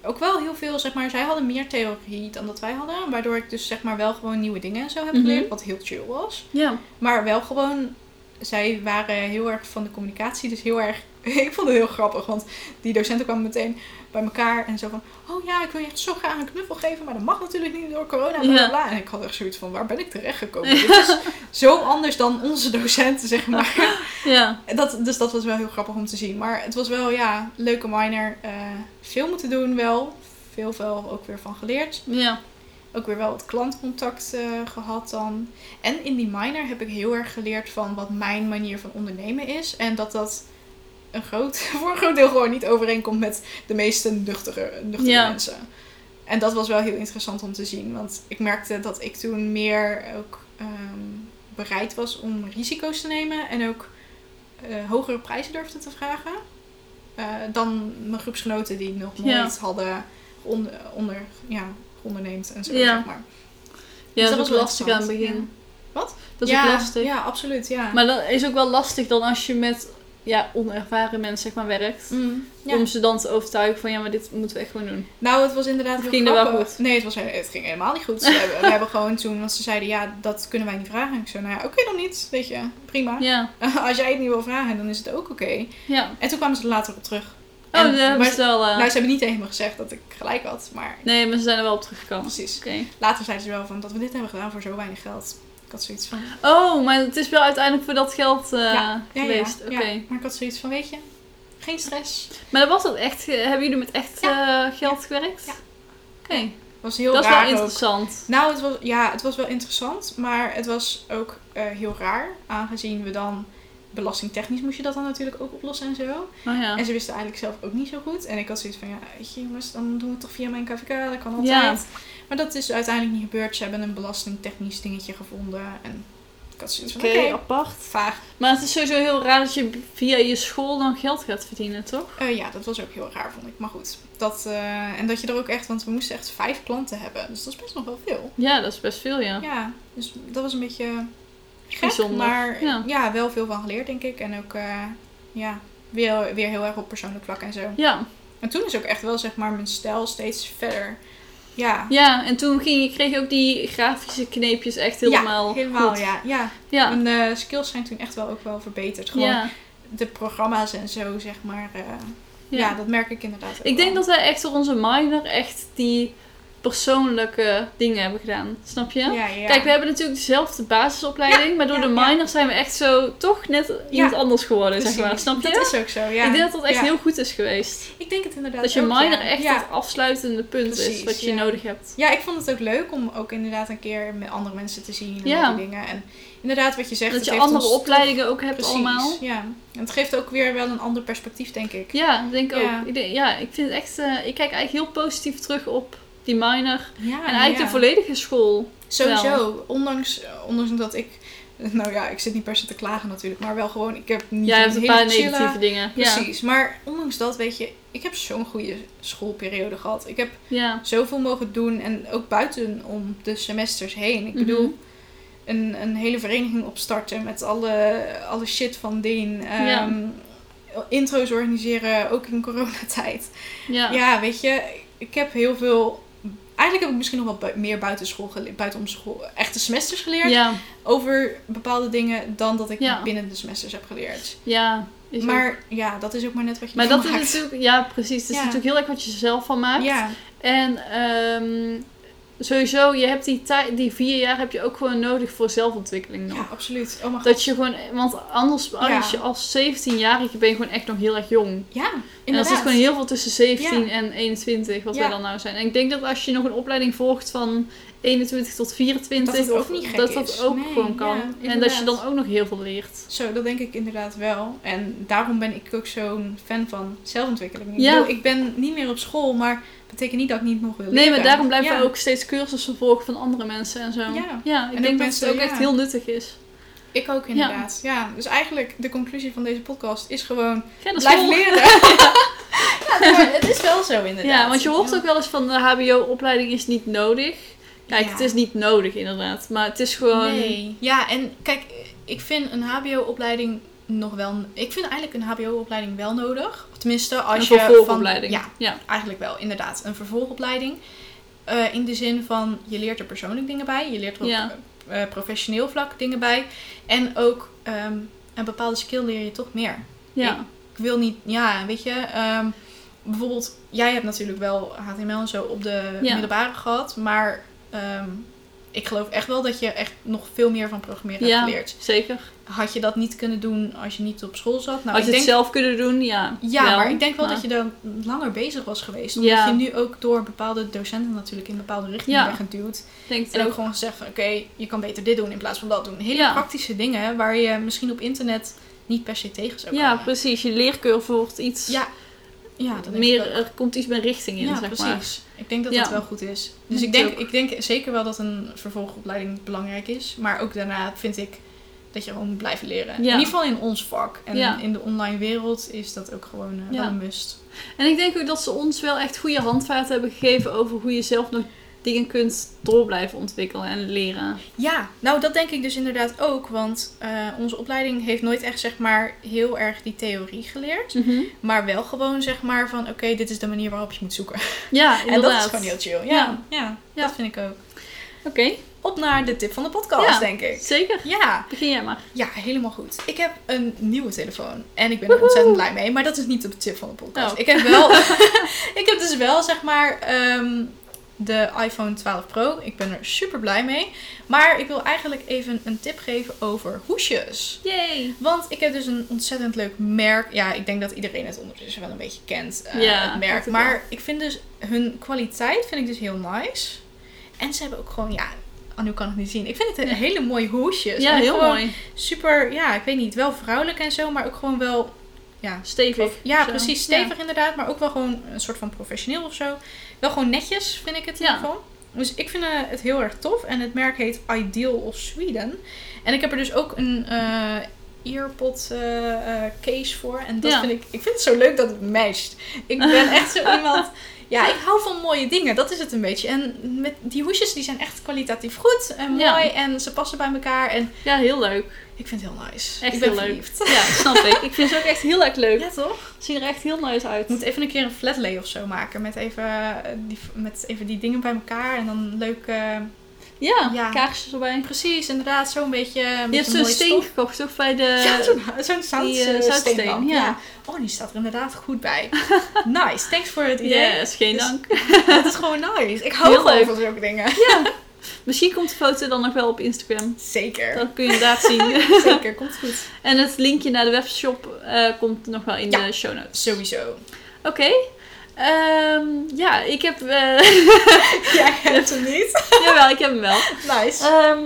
Speaker 2: ook wel heel veel, zeg maar, zij hadden meer theorie dan dat wij hadden. Waardoor ik dus zeg maar wel gewoon nieuwe dingen en zo heb
Speaker 1: Mhm.
Speaker 2: geleerd, wat heel chill was.
Speaker 1: Ja.
Speaker 2: Maar wel gewoon, zij waren heel erg van de communicatie. Dus heel erg, ik vond het heel grappig. Want die docenten kwamen meteen bij elkaar en zo van... Oh ja, ik wil je echt zo graag een knuffel geven. Maar dat mag natuurlijk niet door corona. Bla, bla,
Speaker 1: Ja.
Speaker 2: bla. En ik had echt zoiets van, waar ben ik terecht gekomen? Dit is zo anders dan onze docenten, zeg maar.
Speaker 1: Ja.
Speaker 2: Dat, dus dat was wel heel grappig om te zien. Maar het was wel, ja, leuke minor. eh, veel moeten doen wel. Veel, veel ook weer van geleerd
Speaker 1: Ja.
Speaker 2: ook weer wel wat klantcontact eh, gehad dan. En in die minor heb ik heel erg geleerd van wat mijn manier van ondernemen is. En dat dat een groot, voor een groot deel gewoon niet overeenkomt met de meeste nuchtere, nuchtere
Speaker 1: Ja.
Speaker 2: mensen. En dat was wel heel interessant om te zien. Want ik merkte dat ik toen meer ook ehm, bereid was om risico's te nemen. En ook eh, hogere prijzen durfde te vragen. eh, dan mijn groepsgenoten die nog
Speaker 1: Ja.
Speaker 2: nooit hadden onder, onder, ja, onderneemd en zo.
Speaker 1: Ja.
Speaker 2: Zeg maar.
Speaker 1: Ja,
Speaker 2: Dus
Speaker 1: dat
Speaker 2: dat
Speaker 1: is
Speaker 2: was
Speaker 1: ook lastig aan het
Speaker 2: interessant,
Speaker 1: begin.
Speaker 2: ja. Wat?
Speaker 1: Dat is
Speaker 2: ja,
Speaker 1: ook lastig.
Speaker 2: Ja, absoluut. Ja.
Speaker 1: Maar dat is ook wel lastig dan als je met ja, onervaren mensen zeg maar, werkt.
Speaker 2: Mm, ja.
Speaker 1: Om ze dan te overtuigen van ja, maar dit moeten we echt gewoon doen.
Speaker 2: Nou, het was inderdaad
Speaker 1: Of
Speaker 2: heel
Speaker 1: ging dat wel
Speaker 2: grappig.
Speaker 1: goed?
Speaker 2: Nee, het, was, het ging helemaal niet goed. Ze hebben, we hebben gewoon toen, want ze zeiden ja, dat kunnen wij niet vragen. Ik zei, nou ja, oké dan niet, weet je, prima.
Speaker 1: Ja,
Speaker 2: Als jij het niet wil vragen, dan is het ook oké.
Speaker 1: ja.
Speaker 2: En toen kwamen ze er later op terug.
Speaker 1: Oh,
Speaker 2: En-
Speaker 1: dat hebben
Speaker 2: maar-
Speaker 1: ze wel. eh,
Speaker 2: Nou, ze hebben niet tegen me gezegd dat ik gelijk had, maar
Speaker 1: Nee, maar ze zijn er wel op teruggekomen.
Speaker 2: precies.
Speaker 1: Oké.
Speaker 2: Later zeiden ze wel van dat we dit hebben gedaan voor zo weinig geld. Ik had zoiets van.
Speaker 1: Oh, maar het is wel uiteindelijk voor dat geld eh,
Speaker 2: Ja, ja,
Speaker 1: geweest.
Speaker 2: ja.
Speaker 1: Oké.
Speaker 2: Ja, maar ik had zoiets van, weet je, geen stress.
Speaker 1: Maar dat was dat echt. eh, Hebben jullie met echt eh, geld gewerkt?
Speaker 2: Ja.
Speaker 1: Oké.
Speaker 2: was heel
Speaker 1: Dat is wel
Speaker 2: raar ook.
Speaker 1: interessant.
Speaker 2: Nou, het was, ja, het was wel interessant, maar het was ook eh, heel raar. Aangezien we dan, belastingtechnisch moest je dat dan natuurlijk ook oplossen en zo.
Speaker 1: Oh ja.
Speaker 2: En ze wisten eigenlijk zelf ook niet zo goed. En ik had zoiets van, ja, weet je jongens, dan doen we het toch via mijn KVK, dat kan altijd.
Speaker 1: Ja.
Speaker 2: Maar dat is uiteindelijk niet gebeurd. Ze hebben een belastingtechnisch dingetje gevonden. En ik had zoiets van,
Speaker 1: Oké,
Speaker 2: oké,
Speaker 1: apart.
Speaker 2: vaag.
Speaker 1: Maar het is sowieso heel raar dat je via je school dan geld gaat verdienen, toch?
Speaker 2: Eh, ja, dat was ook heel raar, vond ik. Maar goed, dat, eh, en dat je er ook echt, want we moesten echt vijf klanten hebben. Dus dat is best nog wel veel.
Speaker 1: Ja, dat is best veel, ja.
Speaker 2: Ja, dus dat was een beetje gek,
Speaker 1: Bijzonder,
Speaker 2: maar
Speaker 1: ja.
Speaker 2: ja. wel veel van geleerd, denk ik. En ook, eh, ja, weer, weer heel erg op persoonlijk vlak en zo.
Speaker 1: Ja,
Speaker 2: En toen is ook echt wel, zeg maar, mijn stijl steeds verder. Ja,
Speaker 1: ja en toen ging je, kreeg je ook die grafische kneepjes echt helemaal
Speaker 2: ja, helemaal
Speaker 1: goed.
Speaker 2: ja. ja.
Speaker 1: Ja.
Speaker 2: Mijn eh, skills zijn toen echt wel ook wel verbeterd. Gewoon
Speaker 1: Ja.
Speaker 2: de programma's en zo, zeg maar. eh, ja.
Speaker 1: ja.
Speaker 2: dat merk ik inderdaad ook
Speaker 1: Ik denk
Speaker 2: wel.
Speaker 1: dat wij echt door onze minor echt die persoonlijke dingen hebben gedaan. Snap je?
Speaker 2: Ja, ja.
Speaker 1: Kijk, we hebben natuurlijk dezelfde basisopleiding, maar door
Speaker 2: ja,
Speaker 1: de
Speaker 2: ja.
Speaker 1: minor zijn we echt zo toch net iemand anders geworden, zeg maar.
Speaker 2: Precies.
Speaker 1: Snap je?
Speaker 2: Dat is ook zo, ja.
Speaker 1: Ik denk dat dat echt
Speaker 2: Ja.
Speaker 1: heel goed is geweest.
Speaker 2: Ik denk het inderdaad
Speaker 1: Dat je
Speaker 2: ook,
Speaker 1: minor
Speaker 2: ja.
Speaker 1: echt
Speaker 2: Ja.
Speaker 1: het afsluitende punt is
Speaker 2: Precies,
Speaker 1: wat je
Speaker 2: ja.
Speaker 1: nodig hebt.
Speaker 2: Ja, ik vond het ook leuk om ook inderdaad een keer met andere mensen te zien en
Speaker 1: Ja.
Speaker 2: al die dingen. En inderdaad wat je zegt.
Speaker 1: dat
Speaker 2: het
Speaker 1: je
Speaker 2: heeft
Speaker 1: andere
Speaker 2: ons-
Speaker 1: opleidingen ook hebt
Speaker 2: Precies,
Speaker 1: allemaal.
Speaker 2: ja. En het geeft ook weer wel een ander perspectief, denk ik.
Speaker 1: Ja, ik denk
Speaker 2: Ja.
Speaker 1: ook. Ik denk- ja, ik vind het echt. eh, ik kijk eigenlijk heel positief terug op die minor.
Speaker 2: Ah, Ja,
Speaker 1: en eigenlijk de volledige school.
Speaker 2: Sowieso, ondanks, eh, ondanks dat ik... Nou ja, ik zit niet per se te klagen natuurlijk, maar wel gewoon... Ik heb niet
Speaker 1: Jij hebt een
Speaker 2: hele
Speaker 1: paar
Speaker 2: chille-
Speaker 1: negatieve dingen. Ja.
Speaker 2: Precies, maar ondanks dat, weet je, ik heb zo'n goede schoolperiode gehad. Ik heb
Speaker 1: ja.
Speaker 2: zoveel mogen doen en ook buiten om de semesters heen. Ik
Speaker 1: Mhm.
Speaker 2: bedoel, een, een hele vereniging opstarten met alle, alle shit van dien. ehm,
Speaker 1: Ja.
Speaker 2: Intro's organiseren, ook in coronatijd.
Speaker 1: Ja.
Speaker 2: Ja. weet je, ik heb heel veel... Eigenlijk heb ik misschien nog wel bui- meer buitenschool geleerd, buitenom school, echte semesters geleerd
Speaker 1: Ja.
Speaker 2: over bepaalde dingen dan dat ik
Speaker 1: Ja.
Speaker 2: binnen de semesters heb geleerd.
Speaker 1: Ja. Is ook-
Speaker 2: maar ja, dat is ook maar net wat je
Speaker 1: maar
Speaker 2: ervan
Speaker 1: dat is dus
Speaker 2: maakt.
Speaker 1: natuurlijk. Ja, precies. Het is
Speaker 2: Ja.
Speaker 1: natuurlijk heel erg wat je er zelf van maakt.
Speaker 2: Ja,
Speaker 1: En ehm, sowieso, je hebt die, tijd, die vier jaar heb je ook gewoon nodig voor zelfontwikkeling nog.
Speaker 2: ja, absoluut. Oh mijn god.
Speaker 1: Dat je gewoon, want anders, als je als 17-jarige ben je gewoon echt nog heel erg jong.
Speaker 2: Ja,
Speaker 1: En er
Speaker 2: inderdaad.
Speaker 1: zit gewoon heel veel tussen 17
Speaker 2: Ja.
Speaker 1: en 21, wat
Speaker 2: Ja.
Speaker 1: wij dan nou zijn. En ik denk dat als je nog een opleiding volgt van 21 tot 24,
Speaker 2: Dat het ook
Speaker 1: of-
Speaker 2: niet gek
Speaker 1: dat, dat
Speaker 2: is.
Speaker 1: ook
Speaker 2: Nee,
Speaker 1: gewoon
Speaker 2: ja,
Speaker 1: kan. en dat
Speaker 2: inderdaad.
Speaker 1: je dan ook nog heel veel leert.
Speaker 2: Zo, dat denk ik inderdaad wel. En daarom ben ik ook zo'n fan van zelfontwikkeling. Ik,
Speaker 1: Ja.
Speaker 2: bedoel, ik ben niet meer op school, maar dat betekent niet dat ik niet nog wil leren.
Speaker 1: Nee, maar daarom blijven
Speaker 2: Ja.
Speaker 1: we ook steeds cursussen volgen van andere mensen en zo.
Speaker 2: Ja.
Speaker 1: ik
Speaker 2: ook
Speaker 1: denk dat
Speaker 2: mensen,
Speaker 1: het ook
Speaker 2: ja.
Speaker 1: echt heel nuttig is.
Speaker 2: Ik ook inderdaad. Ja. dus eigenlijk de conclusie van deze podcast is gewoon...
Speaker 1: Ga naar
Speaker 2: Blijf
Speaker 1: school.
Speaker 2: leren! ja, maar het is wel zo inderdaad.
Speaker 1: Ja, want je hoort ook wel eens van eh, de HBO-opleiding is niet nodig. Kijk,
Speaker 2: Ja.
Speaker 1: het is niet nodig inderdaad, maar het is gewoon...
Speaker 2: Nee. Ja, en kijk, ik vind een hbo-opleiding nog wel... Ik vind eigenlijk een hbo-opleiding wel nodig. Tenminste, als
Speaker 1: een
Speaker 2: je... van-
Speaker 1: vervolgopleiding.
Speaker 2: ja,
Speaker 1: ja.
Speaker 2: eigenlijk wel, inderdaad. Een vervolgopleiding. Eh, in de zin van, je leert er persoonlijk dingen bij. Je leert er op
Speaker 1: Ja.
Speaker 2: eh, professioneel vlak dingen bij. En ook ehm, een bepaalde skill leer je toch meer.
Speaker 1: Ja.
Speaker 2: Ik wil niet, ja, weet je... ehm, bijvoorbeeld, jij hebt natuurlijk wel HTML en zo op de
Speaker 1: Ja.
Speaker 2: middelbare gehad. Maar ehm, ik geloof echt wel dat je echt nog veel meer van programmeren
Speaker 1: Ja.
Speaker 2: hebt geleerd.
Speaker 1: zeker.
Speaker 2: Had je dat niet kunnen doen als je niet op school zat? Nou,
Speaker 1: Als
Speaker 2: ik
Speaker 1: je
Speaker 2: denk
Speaker 1: het zelf kunnen doen, ja.
Speaker 2: ja, maar ik denk wel dat je dan langer bezig was geweest. Omdat
Speaker 1: Ja.
Speaker 2: je nu ook door bepaalde docenten natuurlijk in bepaalde richtingen
Speaker 1: Ja.
Speaker 2: bent geduwd.
Speaker 1: Denk het
Speaker 2: En ook
Speaker 1: ook.
Speaker 2: gewoon gezegd van oké, je kan beter dit doen in plaats van dat doen. Hele
Speaker 1: Ja.
Speaker 2: praktische dingen waar je misschien op internet niet per se tegen zou
Speaker 1: Ja,
Speaker 2: komen.
Speaker 1: precies. Je leercurve wordt iets
Speaker 2: Ja, ja dat denk
Speaker 1: meer...
Speaker 2: ik ook.
Speaker 1: Er komt iets meer richting in,
Speaker 2: Ja,
Speaker 1: zeg
Speaker 2: precies.
Speaker 1: maar.
Speaker 2: Ik denk dat
Speaker 1: Ja.
Speaker 2: dat wel goed is. Dus
Speaker 1: Ik
Speaker 2: ik denk,
Speaker 1: ook.
Speaker 2: ik denk zeker wel dat een vervolgopleiding belangrijk is. Maar ook daarna vind ik dat je gewoon moet blijven leren.
Speaker 1: Ja.
Speaker 2: In ieder geval in ons vak. En
Speaker 1: Ja.
Speaker 2: in de online wereld is dat ook gewoon eh,
Speaker 1: Ja.
Speaker 2: wel een must.
Speaker 1: En ik denk ook dat ze ons wel echt goede handvaten hebben gegeven over hoe je zelf nog dingen kunt door blijven ontwikkelen en leren.
Speaker 2: Ja, nou dat denk ik dus inderdaad ook. Want eh, onze opleiding heeft nooit echt zeg maar heel erg die theorie geleerd. Maar wel gewoon zeg maar van oké, dit is de manier waarop je moet zoeken.
Speaker 1: Ja, inderdaad.
Speaker 2: En dat is gewoon heel chill. Ja, ja.
Speaker 1: Ja. Ja.
Speaker 2: dat vind ik ook.
Speaker 1: Oké,
Speaker 2: Op naar de tip van de podcast,
Speaker 1: Ja.
Speaker 2: denk ik.
Speaker 1: zeker.
Speaker 2: Ja.
Speaker 1: Begin jij maar.
Speaker 2: ja, helemaal goed. Ik heb een nieuwe telefoon. En ik ben er ontzettend blij mee. Maar dat is niet de tip van de podcast.
Speaker 1: Oh.
Speaker 2: Ik, heb wel, ik heb dus wel, zeg maar, ehm, de iPhone 12 Pro. Ik ben er super blij mee. Maar ik wil eigenlijk even een tip geven over hoesjes.
Speaker 1: Yay!
Speaker 2: Want ik heb dus een ontzettend leuk merk. Ja, ik denk dat iedereen het ondertussen wel een beetje kent, eh,
Speaker 1: Ja,
Speaker 2: het
Speaker 1: dat
Speaker 2: merk.
Speaker 1: wel.
Speaker 2: Maar ik vind dus hun kwaliteit vind ik dus heel nice. En ze hebben ook gewoon, ja, Anu kan het niet zien. Ik vind het een
Speaker 1: Nee.
Speaker 2: hele mooie hoesjes.
Speaker 1: Ja,
Speaker 2: En
Speaker 1: heel
Speaker 2: gewoon
Speaker 1: mooi.
Speaker 2: Super, ja, ik weet niet, wel vrouwelijk en zo, maar ook gewoon wel, ja,
Speaker 1: Stevig.
Speaker 2: ja
Speaker 1: Zo.
Speaker 2: precies, stevig inderdaad. Maar ook wel gewoon een soort van professioneel of zo. Wel gewoon netjes, vind ik het in
Speaker 1: Ja.
Speaker 2: ieder geval. Dus ik vind eh, het heel erg tof. En het merk heet Ideal of Sweden. En ik heb er dus ook een eh, earpod eh, eh, case voor. En dat
Speaker 1: Ja.
Speaker 2: vind ik... Ik vind het zo leuk dat het matcht. Ik ben echt zo iemand... Ja, ik hou van mooie dingen. Dat is het een beetje. En met die hoesjes die zijn echt kwalitatief goed en mooi.
Speaker 1: Ja.
Speaker 2: En ze passen bij elkaar. En
Speaker 1: Ja. Ja, heel leuk.
Speaker 2: ik vind het heel nice.
Speaker 1: Echt
Speaker 2: ik ben
Speaker 1: heel leuk.
Speaker 2: verliefd.
Speaker 1: Ja, snap ik. Ik vind ze ook echt heel erg leuk.
Speaker 2: Ja, toch?
Speaker 1: Zien er echt heel nice uit.
Speaker 2: Ik moet even een keer een flat lay of zo maken. Met even, eh, die, met even die dingen bij elkaar. En dan leuk. eh,
Speaker 1: Ja,
Speaker 2: Ja.
Speaker 1: kaarsjes erbij.
Speaker 2: precies, inderdaad. Zo'n beetje. een
Speaker 1: Je
Speaker 2: beetje
Speaker 1: hebt zo'n
Speaker 2: mooie
Speaker 1: steen
Speaker 2: stof.
Speaker 1: gekocht, toch? Bij de...
Speaker 2: ja, zo'n- zo'n zout,
Speaker 1: die, eh,
Speaker 2: eh,
Speaker 1: zoutsteen,
Speaker 2: steenlamp,
Speaker 1: ja.
Speaker 2: Oh, die staat er inderdaad goed bij. nice, thanks voor het idee.
Speaker 1: Yes, geen
Speaker 2: Dus-
Speaker 1: dank.
Speaker 2: Dat is gewoon nice. Ik hou
Speaker 1: Heel
Speaker 2: gewoon
Speaker 1: leuk.
Speaker 2: van zulke dingen.
Speaker 1: Misschien komt de foto dan nog wel op Instagram.
Speaker 2: Zeker.
Speaker 1: Dat kun je inderdaad zien.
Speaker 2: Zeker, komt goed.
Speaker 1: En het linkje naar de webshop eh, komt nog wel in
Speaker 2: Ja.
Speaker 1: de show notes.
Speaker 2: Sowieso.
Speaker 1: Oké. Ehm, ja, ik heb... eh,
Speaker 2: Jij hebt hem niet.
Speaker 1: jawel, ik heb hem wel.
Speaker 2: Nice.
Speaker 1: Ehm,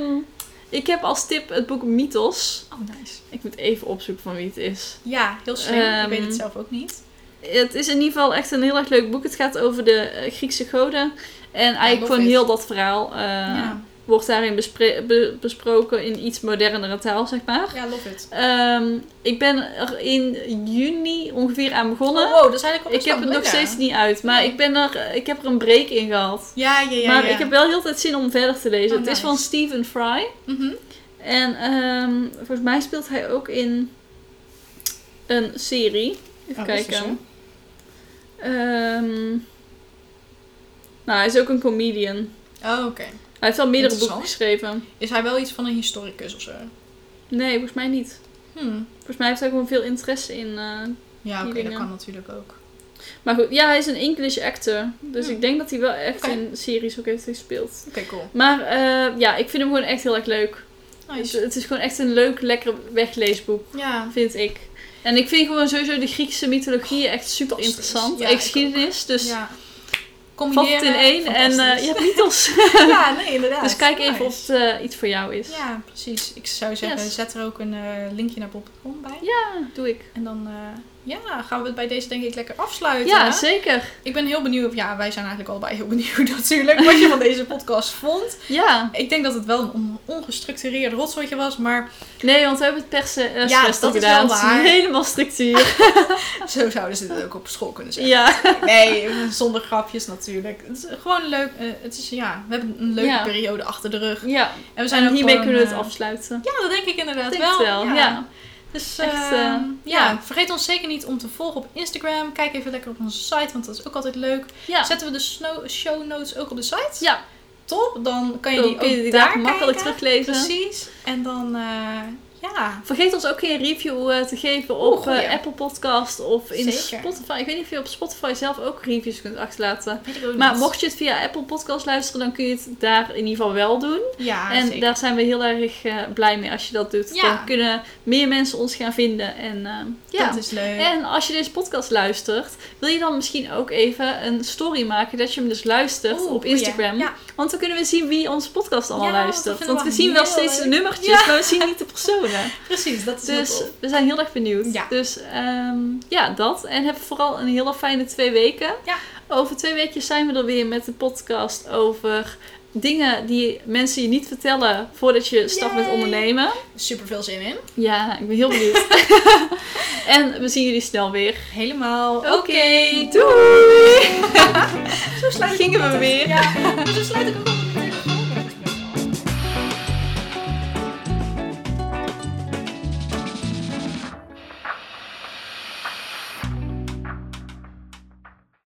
Speaker 1: ik heb als tip het boek Mythos.
Speaker 2: Oh, nice.
Speaker 1: Ik moet even opzoeken van wie het is.
Speaker 2: Ja, heel slim. ik
Speaker 1: Ehm,
Speaker 2: weet het zelf ook niet.
Speaker 1: Het is in ieder geval echt een heel erg leuk boek. Het gaat over de eh, Griekse goden. En
Speaker 2: love
Speaker 1: eigenlijk gewoon
Speaker 2: it.
Speaker 1: heel dat verhaal eh,
Speaker 2: ja.
Speaker 1: wordt daarin bespre- be- besproken in iets modernere taal, zeg maar.
Speaker 2: ja, love it.
Speaker 1: Ehm, ik ben er in juni ongeveer aan begonnen.
Speaker 2: Oh, wow, dat is eigenlijk al
Speaker 1: ik
Speaker 2: best
Speaker 1: heb
Speaker 2: wel
Speaker 1: het nog
Speaker 2: lekker.
Speaker 1: steeds niet uit, maar ik, ben er, eh, ik heb er een break in gehad.
Speaker 2: Ja, ja, ja.
Speaker 1: maar
Speaker 2: ja.
Speaker 1: ik heb wel heel de tijd zin om verder te lezen.
Speaker 2: Oh,
Speaker 1: het is
Speaker 2: nice.
Speaker 1: van Stephen Fry.
Speaker 2: Mhm.
Speaker 1: En ehm, volgens mij speelt hij ook in een serie. Even
Speaker 2: Oh, dat is dus zo.
Speaker 1: kijken. Ehm, nou, hij is ook een comedian.
Speaker 2: Oh, oké.
Speaker 1: Hij heeft al meerdere boeken
Speaker 2: Interessant.
Speaker 1: geschreven.
Speaker 2: Is hij wel iets van een historicus of zo?
Speaker 1: Nee, volgens mij niet.
Speaker 2: Hm.
Speaker 1: Volgens mij heeft hij gewoon veel interesse in. eh,
Speaker 2: Ja,
Speaker 1: Die
Speaker 2: oké, dat
Speaker 1: dingen.
Speaker 2: kan natuurlijk ook.
Speaker 1: Maar goed, ja, hij is een English actor. Dus
Speaker 2: Hmm.
Speaker 1: ik denk dat hij wel echt
Speaker 2: Oké.
Speaker 1: in series ook heeft gespeeld.
Speaker 2: Oké, cool.
Speaker 1: Maar eh, ja, ik vind hem gewoon echt heel erg leuk. Dus
Speaker 2: Nice.
Speaker 1: het is gewoon echt een leuk, lekker wegleesboek.
Speaker 2: Ja.
Speaker 1: vind ik. En ik vind gewoon sowieso de Griekse mythologie echt super
Speaker 2: fantastisch.
Speaker 1: interessant.
Speaker 2: Ja,
Speaker 1: En
Speaker 2: ik
Speaker 1: geschiedenis, dus
Speaker 2: ja.
Speaker 1: valt het in één. En eh, je hebt mythos.
Speaker 2: ja, nee, inderdaad.
Speaker 1: dus kijk
Speaker 2: Nice.
Speaker 1: even of het eh, iets voor jou is.
Speaker 2: Ja, precies. Ik zou zeggen,
Speaker 1: Yes.
Speaker 2: zet er ook een eh, linkje naar Bob.com bij.
Speaker 1: Ja, doe ik.
Speaker 2: En dan eh, ja, gaan we het bij deze denk ik lekker afsluiten.
Speaker 1: Ja,
Speaker 2: hè?
Speaker 1: zeker.
Speaker 2: ik ben heel benieuwd. Ja, wij zijn eigenlijk allebei heel benieuwd natuurlijk wat je van deze podcast vond.
Speaker 1: Ja.
Speaker 2: Ik denk dat het wel een on- ongestructureerd rotzooitje was, maar
Speaker 1: Nee, want we hebben het eh, per se
Speaker 2: Ja,
Speaker 1: ja,
Speaker 2: dat is
Speaker 1: gedaan.
Speaker 2: wel
Speaker 1: Het
Speaker 2: waar. Ah,
Speaker 1: Helemaal structuur.
Speaker 2: zo zouden ze het ook op school kunnen zeggen.
Speaker 1: ja.
Speaker 2: Nee, zonder grapjes natuurlijk. Het is gewoon leuk. eh, het is, ja, we hebben een leuke
Speaker 1: Ja.
Speaker 2: periode achter de rug.
Speaker 1: ja.
Speaker 2: En we zijn
Speaker 1: En
Speaker 2: ook
Speaker 1: hiermee
Speaker 2: gewoon,
Speaker 1: kunnen we het
Speaker 2: eh,
Speaker 1: afsluiten.
Speaker 2: Ja, dat denk ik inderdaad
Speaker 1: Ik denk
Speaker 2: wel.
Speaker 1: het wel, ja.
Speaker 2: Dus
Speaker 1: Echt,
Speaker 2: eh,
Speaker 1: eh,
Speaker 2: ja.
Speaker 1: ja.
Speaker 2: vergeet ons zeker niet om te volgen op Instagram. Kijk even lekker op onze site, want dat is ook altijd leuk.
Speaker 1: Ja.
Speaker 2: Zetten we de snow- show notes ook op de site?
Speaker 1: Ja.
Speaker 2: Top, dan kan je die
Speaker 1: Dan kun je
Speaker 2: ook
Speaker 1: die
Speaker 2: daar
Speaker 1: daar makkelijk
Speaker 2: kijken.
Speaker 1: teruglezen.
Speaker 2: Precies. En dan, eh, ja.
Speaker 1: Vergeet ons ook geen review eh, te geven op
Speaker 2: goeie.
Speaker 1: eh, Apple Podcast of in
Speaker 2: Zeker.
Speaker 1: Spotify. Ik weet niet of je op Spotify zelf ook reviews kunt achterlaten.
Speaker 2: Weet ik ook
Speaker 1: Maar
Speaker 2: niet.
Speaker 1: mocht je het via Apple Podcast luisteren, dan kun je het daar in ieder geval wel doen.
Speaker 2: Ja,
Speaker 1: en
Speaker 2: Ah, zeker.
Speaker 1: daar zijn we heel erg eh, blij mee als je dat doet.
Speaker 2: Ja.
Speaker 1: Dan kunnen meer mensen ons gaan vinden. En, eh, ja.
Speaker 2: Dat is leuk.
Speaker 1: en als je deze podcast luistert, wil je dan misschien ook even een story maken dat je hem dus luistert
Speaker 2: Oeh,
Speaker 1: op
Speaker 2: goeie.
Speaker 1: Instagram.
Speaker 2: Ja,
Speaker 1: Want dan kunnen we zien wie onze podcast allemaal
Speaker 2: Ja, dat
Speaker 1: luistert.
Speaker 2: vinden
Speaker 1: Want
Speaker 2: we
Speaker 1: we zien wel
Speaker 2: heel
Speaker 1: steeds
Speaker 2: leuk.
Speaker 1: de nummertjes, maar we zien niet de personen.
Speaker 2: precies. Dat is heel
Speaker 1: Dus
Speaker 2: tof.
Speaker 1: we zijn heel erg benieuwd.
Speaker 2: Ja.
Speaker 1: Dus ehm, ja, dat. En heb vooral een hele fijne twee weken.
Speaker 2: Ja.
Speaker 1: Over twee weekjes zijn we er weer met de podcast over dingen die mensen je niet vertellen voordat je start met
Speaker 2: Yay.
Speaker 1: ondernemen.
Speaker 2: Super veel zin in.
Speaker 1: Ja, ik ben heel benieuwd. en we zien jullie snel weer.
Speaker 2: Helemaal. Oké,
Speaker 1: doei!
Speaker 2: Zo sluit ik
Speaker 1: Gingen we
Speaker 2: altijd.
Speaker 1: weer.
Speaker 2: Ja, maar zo sluit ik ook altijd